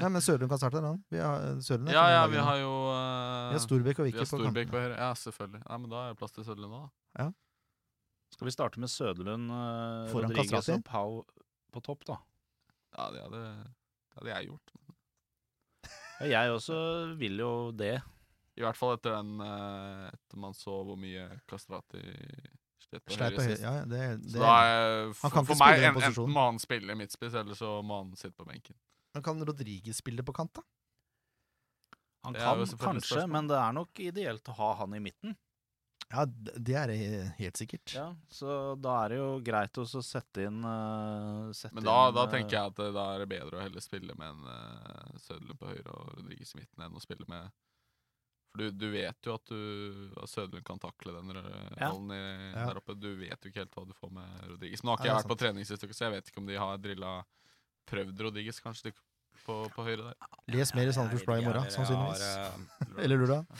D: ja, men Sørlund kan starte, han. Vi har, Sørlund er
E: Ja,
D: på
E: ja,
D: laget
E: vi
D: nå.
E: har jo
D: vi har
E: eh,
D: Storbekk og
E: Vi
D: Vikke
E: har
D: på
E: Storbekk
D: kanten.
E: på høyre. Ja, selvfølgelig. Nei, men da er det plass til Sødlund òg, da.
G: Skal vi starte med Søderlund, eh,
D: Foran
G: Rodriguez
D: Kastrati?
G: og Pau på topp, da?
E: Ja, det hadde, det hadde jeg gjort.
G: Ja, jeg også vil jo det.
E: I hvert fall etter den eh, Etter man så hvor mye Kastrati slet på
D: Sleip
E: høyre
D: på høyre.
E: sist.
D: Ja, ja, det,
E: Så
D: det.
E: da er, for,
D: kan ikke
E: for
D: spille
E: meg
D: i den
E: en, enten
D: posisjonen.
E: må han spille midtspiss, eller så må han sitte på benken.
D: Men kan Rodriguez spille på kant, da?
G: Han
E: Det er
G: kan
E: jo selvfølgelig et
G: kanskje,
E: spørsmål.
G: men det er nok ideelt å ha han i midten.
D: Ja, d- det er det helt sikkert.
G: Ja, så da er det jo greit også å sette inn eh, sette
E: Men da,
G: inn,
E: da
G: eh,
E: tenker jeg at eh, da er det bedre å heller spille med en uh, Søderlund på høyre og Rodriguez i midten enn å spille med For du, du vet jo at, du, at Søderlund kan takle den rø-
G: Ja.
E: ballen i,
D: Ja.
E: der oppe. Du vet jo ikke helt hva du får med Rodriguez. Men nå har
D: Nei,
E: ikke jeg
D: det er
E: vært på trening sist uke, så jeg vet ikke om de har drilla prøvd Rodriguez kanskje de, på, på høyre der.
D: Les mer i Sandefjords Blad i morgen,
F: Jeg har,
D: sannsynligvis.
F: eh,
D: Eller lørdag.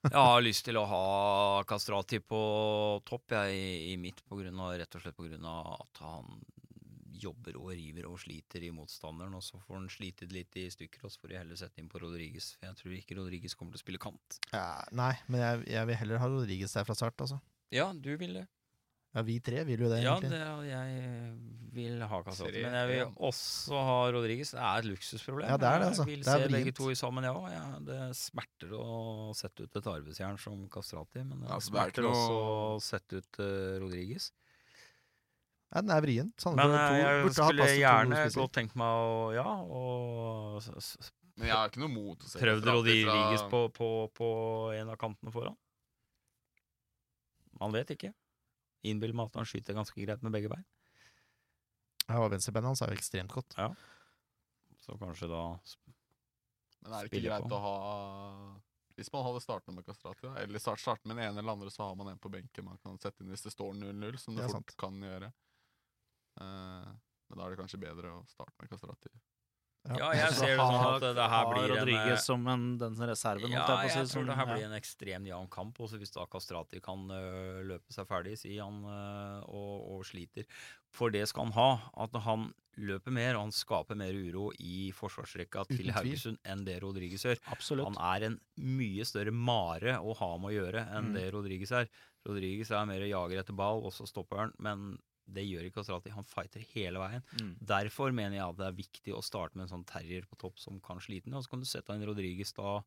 F: Jeg har lyst til å ha Kastrati på topp jeg, i, i mitt, på grunn av, rett og slett pga. at han jobber og river og sliter i motstanderen. Og så får han slitet litt i stykker, og så får de heller sette inn på Rodriguez. For jeg tror ikke Rodriguez kommer til å spille kant.
D: Ja, nei, men jeg, jeg vil heller ha Rodriguez der fra start, altså.
F: Ja, du vil det.
D: Ja, vi tre vil jo det,
F: Ja,
D: egentlig.
F: det, jeg vil ha Kastrati.
E: Serie
F: Men jeg
E: én.
F: vil også ha Rodriguez. Det er et luksusproblem.
D: Ja, det er det, altså.
F: Jeg vil
D: Det er
F: se begge
D: vrient.
F: to sammen, jeg òg. Ja, det smerter å sette ut et arbeidsjern som Kastrati, men det
E: Ja, for det er ikke
F: smerter også
E: noe-
F: å sette ut eh, Rodriguez.
D: Ja, den er vrien.
F: Men
D: Sandefjord
F: eh,
D: to-
F: jeg
D: burde ha
F: skulle
D: plass til to
F: gjerne
D: spisser.
F: godt tenkt meg å Ja, og s- s-
E: Men jeg har ikke noe mot å se
F: prøvd
E: Kastrati
F: Rodriguez
E: fra-
F: på, på, på en av kantene foran. Man vet ikke. Innbill meg at han skyter ganske greit med begge bein.
D: Ja, og venstrebeinet hans er jo ekstremt godt.
F: Så kanskje da
E: Men er det ikke
F: spille
E: greit
F: på.
E: å ha Hvis man hadde startene med Kastrati, da, eller start, starte med den ene eller andre, så har man en på benken man kan sette inn hvis det står 0-0, som du
D: Det er
E: fort
D: sant.
E: kan gjøre. Eh, men da er det kanskje bedre å starte med Kastrati.
F: Ja, jeg
G: så
F: ser det sånn
G: ha-
F: at det her
G: ha
F: blir en
G: Rodriguez
F: eh,
G: som en, den reserven,
F: ja,
G: holdt jeg på å si.
F: jeg tror
G: som-
F: det her
G: ja.
F: blir en ekstremt jevn kamp. Også hvis da Kastrati kan øh, løpe seg ferdig, sier han, øh, og, og sliter. For det skal han ha. At han løper mer, og han skaper mer uro i forsvarsrekka
D: Uten
F: til
D: tvil.
F: Haugesund enn det Rodriguez gjør.
G: Absolutt.
F: Han er en mye større mare å ha med å gjøre enn
G: Mm.
F: det Rodriguez er. Rodriguez er mer jager etter ball, og så stopper han. Men det gjør ikke Kastrati. Han fighter hele veien.
G: Mm.
F: Derfor mener jeg at det er viktig å starte med en sånn terrier på topp som kan slite ned, og så kan du sette inn Rodriguez da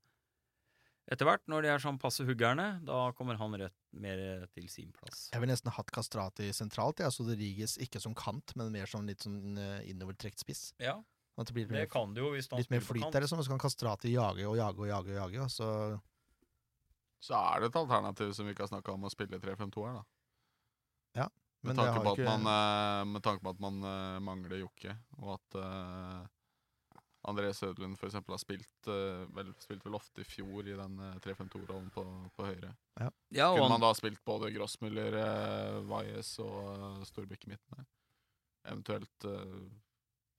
F: etter hvert, når de er sånn passe huggerne. Da kommer han rett mer til sin plass.
D: Jeg vil nesten ha hatt Kastrati sentralt, jeg. Altså Rodriguez ikke som kant, men mer som litt sånn eh, innovertrekt spiss.
F: Ja,
D: At det blir
F: det
D: litt, mer-
F: kan du jo hvis han
D: litt mer
F: spiller på
D: flyt
F: kant.
D: der, liksom. Og så kan Kastrati jage og jage og jage og jage, altså. og så
E: Så er det et alternativ som vi ikke har snakka om, å spille 3-5-2 her, da.
D: Men
E: Med
D: det
E: tanke,
D: har
E: på
D: ikke-
E: at man, eh, med tanke på at man eh, mangler Jokke, og at eh, André Sødlund for eksempel har spilt, eh, vel, spilt vel ofte i fjor i den eh, 3-5-2-rollen på, på høyre.
F: Ja, og
E: Kunne
F: han-
E: man da spilt både Grossmuller, eh, Valles og eh, Storbekk i midten her? Eventuelt eh,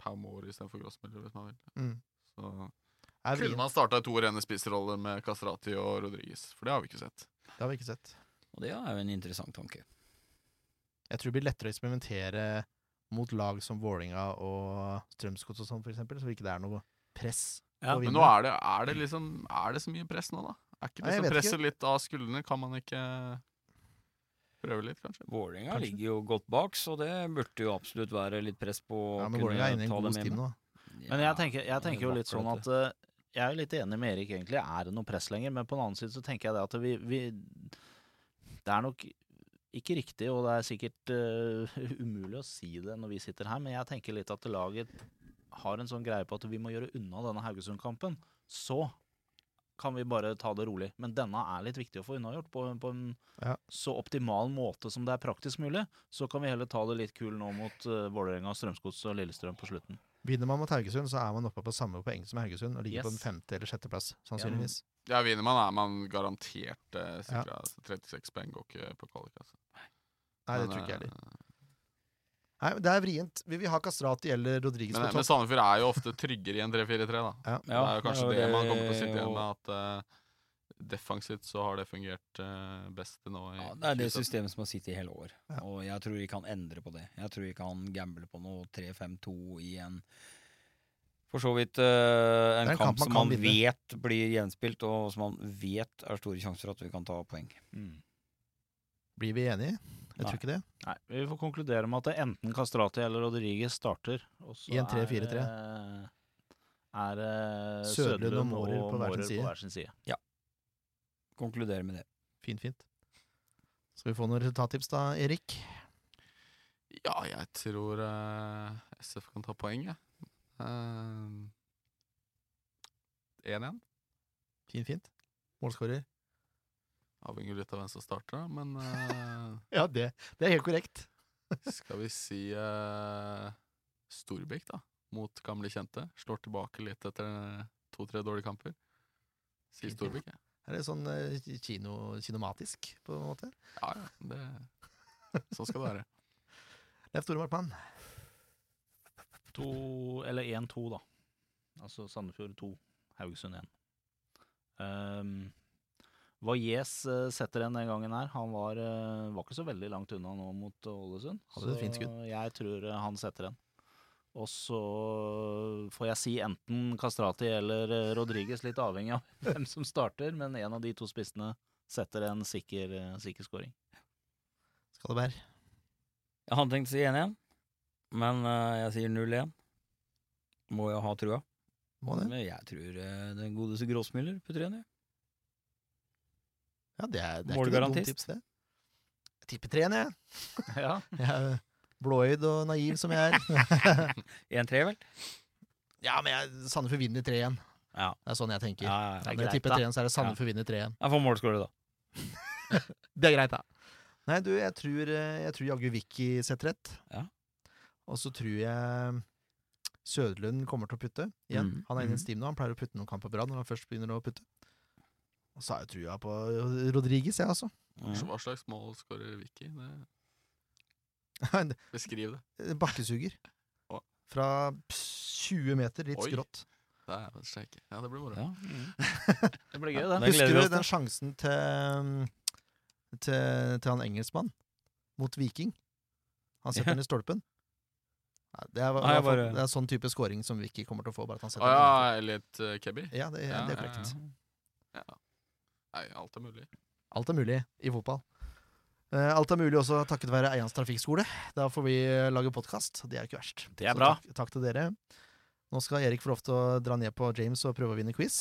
E: Pau Moore istedenfor Grossmuller, hvis man vil.
D: Mm.
E: Så
D: er
E: eh, kunne
D: vrien.
E: man starta to rene spissroller med Kastrati og Rodriguez, for det har vi ikke sett.
D: Det har vi ikke sett.
F: og det er jo en interessant tanke.
D: Jeg tror det blir lettere å eksperimentere mot lag som Vålinga og Strømsgodt og sånn, for eksempel, så ikke det er noe press.
G: Ja,
D: på å
E: Men
D: vinne.
E: nå er det, er det liksom Er det så mye press nå, da? Er ikke
D: Nei, jeg
E: liksom
D: vet ikke.
E: presset litt av skuldrene? Kan man ikke prøve litt, kanskje?
F: Vålerenga
D: Kanskje.
F: ligger jo godt bak, så det burde jo absolutt være litt press på å
D: ja, men
F: kunne
D: Vålinga er inne i en
F: ta
D: god
F: dem hjemme.
D: stim nå.
G: Men jeg
F: Ja,
G: tenker, jeg tenker jo litt sånn
F: vaklete.
G: at eh, Jeg er jo litt enig med Erik, egentlig. Er det noe press lenger? Men på den annen side så tenker jeg det at vi, vi Det er nok ikke riktig, og det er sikkert eh, umulig å si det når vi sitter her, men jeg tenker litt at laget har en sånn greie på at vi må gjøre unna denne Haugesund-kampen. Så kan vi bare ta det rolig. Men denne er litt viktig å få unnagjort på, på en
D: Ja.
G: så optimal måte som det er praktisk mulig. Så kan vi heller ta det litt kul nå mot uh, Vålerenga, Strømsgods og Lillestrøm på slutten.
D: Vinner man mot Haugesund, så er man oppe på samme poeng som Haugesund, og ligger på
G: Yes.
D: den femte eller sjetteplass, sannsynligvis.
E: Ja, vinner man, er man garantert eh, sikra 36 poeng. Går ikke på kvalik, altså.
D: Nei, det
E: Men,
D: tror ikke jeg
E: eh,
D: heller. Nei, men det er vrient. Vi vil ha Kastrati eller Rodriguez
E: eh, Men,
D: på
E: men
D: topp.
E: Sandefjord er jo ofte tryggere i en 3-4-3, da.
F: Ja,
E: det er jo kanskje
F: og
E: det, man kommer til å sitte igjen
F: og-
E: med, at eh, defensivt så har det fungert eh, best til nå. i
F: Ja, det er det
E: 2017.
F: systemet som har sittet i hele år.
D: Ja.
F: Og jeg tror ikke han endrer på det. Jeg tror ikke han gambler på noe 3-5-2 i en For så vidt eh, en,
D: Det er en
F: kamp,
D: kamp man
F: som
D: kan
F: han
D: vinne.
F: vet blir gjenspilt, og som han vet er store sjanser for at vi kan ta poeng.
G: Mm.
D: Blir vi enige? Jeg
F: Nei.
D: tror ikke det.
G: Nei, Vi får konkludere med at det enten Kastrati eller Rodriguez starter. Og så
D: I en
G: er,
D: 3-4-3.
G: eh, Er eh,
D: Sødlund og
G: Sødlund og
D: Mårer på hver sin
G: Mårer
D: side.
G: på hver sin side.
F: Konkluderer med det.
D: Fint, fint. Skal vi få noen resultattips da, Erik?
E: Ja, jeg tror eh, SF kan ta poeng, jeg. Eh, 1-1.
D: Fint, fint. Målskårer?
E: Avhenger litt av hvem som starter, da, men eh,
D: Ja, det, det er helt korrekt.
E: skal vi si eh, Storbekk, da. Mot gamle kjente. Slår tilbake litt etter to-tre dårlige kamper. Si
D: Fint.
E: Storbekk, jeg.
D: Er det sånn eh, kino, kinomatisk, på en måte?
E: Ja, ja, det, sånn skal det være.
D: Leif Tore Markmann.
G: To, eller 1-2, da. Altså Sandefjord 2, Haugesund 1. Um, Valles eh, setter en den gangen her. Han var, eh, var ikke så veldig langt unna nå mot Ålesund.
D: Hadde et fint skudd.
G: jeg tror eh, han setter en. Og så får jeg si enten Kastrati eller eh, Rodriguez, litt avhengig av hvem som starter, men en av de to spissene setter en sikker, eh, sikker scoring.
D: Skalleberg.
F: Jeg hadde tenkt å si 1-1, men eh, jeg sier 0-1. Må jo ha trua.
D: Må det.
F: Men jeg tror eh, den godeste Gråsmyller putter igjen, jeg.
D: Ja, det er, det er ikke noe dumt
F: Målgarantist.
D: tips, det. Jeg tipper treen, jeg.
G: Ja.
D: jeg er blåøyd og naiv som jeg er.
F: 1-3, vel?
D: ja, men jeg, Sandefjord vinner 3-1.
F: Ja.
D: Det er sånn jeg tenker.
F: Ja,
D: Ja,
F: ja,
D: når jeg
F: greit,
D: tipper
F: da.
D: 3-1, så er det Sandefjord vinner 3-1.
F: Jeg får målskårer, da.
D: Det er greit, da. Nei, du, jeg tror, eh, jeg tror jaggu Vicky setter rett.
F: Ja.
D: Og så tror jeg Søderlund kommer til å putte igjen.
F: Mhm,
D: Han er inne i
F: mhm.
D: en stim nå. Han pleier å putte noen kamper på rad når han først begynner å putte. Og så har jeg trua på Rodriguez, jeg, altså.
E: Så Hva slags mål skårer Vicky? Det- Beskriv det.
D: Bakkesuger.
E: Å.
D: eh, Fra pss, 20 meter, litt
E: Oi.
D: skrått.
E: Det er en steike. Ja, det blir moro.
F: Ja.
D: Mm.
G: Det blir gøy,
F: Ja,
G: det.
F: det gleder
D: Husker
F: vi
D: du
F: oss til.
D: den sjansen til, mm, til, til han engelskmann mot Viking? Han setter
F: Ja.
D: den i stolpen. Nei, det, er,
F: Nei, jeg bare-
D: det er sånn type scoring som Vicky kommer til å få. Bare at han
E: Å
D: setter den
E: ja, litt uh, kebby?
D: i- ja, det,
E: Ja,
D: det er
E: ja,
D: korrekt.
E: ja. Ja. Nei, alt er mulig.
D: Alt er mulig i fotball. Eh, Alt er mulig også takket være Eians trafikkskole. Da får vi eh, lage podkast. Det er jo ikke verst.
G: Det er
D: Så
G: bra.
D: Takk, takk til dere. Nå skal Erik få lov til å dra ned på James og prøve å vinne quiz.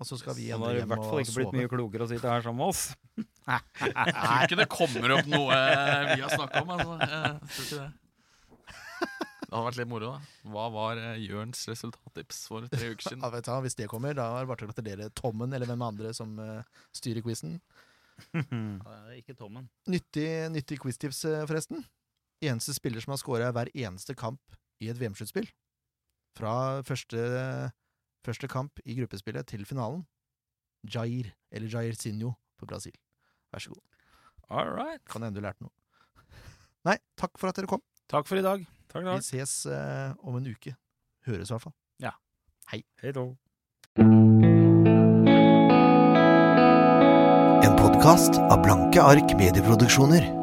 D: Og så skal vi
F: Han har
D: andre
F: i
D: hjem
F: hvert fall
D: og
F: ikke blitt
D: sove.
F: mye klokere å sitte her sammen med oss.
E: Jeg tror ikke det kommer opp noe vi har snakka om. Altså. Jeg tror ikke det. det hadde vært litt moro, da. Hva var eh, Jørns resultattips for tre uker siden?
D: Ja, vet du, hva, hvis det kommer, da er det bare til å gratulere Tommen eller hvem andre som eh, styrer quizen.
G: Eh, Ikke Tommen.
D: Nyttig, nyttig quiztips, eh, forresten. Eneste spiller som har scora hver eneste kamp i et VM-sluttspill. Fra første, første kamp i gruppespillet til finalen. Jair, eller Jair Sinho på Brasil. Vær så god.
F: All right.
D: Kan hende du lærte noe. Nei, takk for at dere kom.
G: Takk for i dag.
F: Takk
D: Vi ses eh, om en uke. Høres i hvert fall.
F: Hei då.
B: En podkast av Blanke ark medieproduksjoner.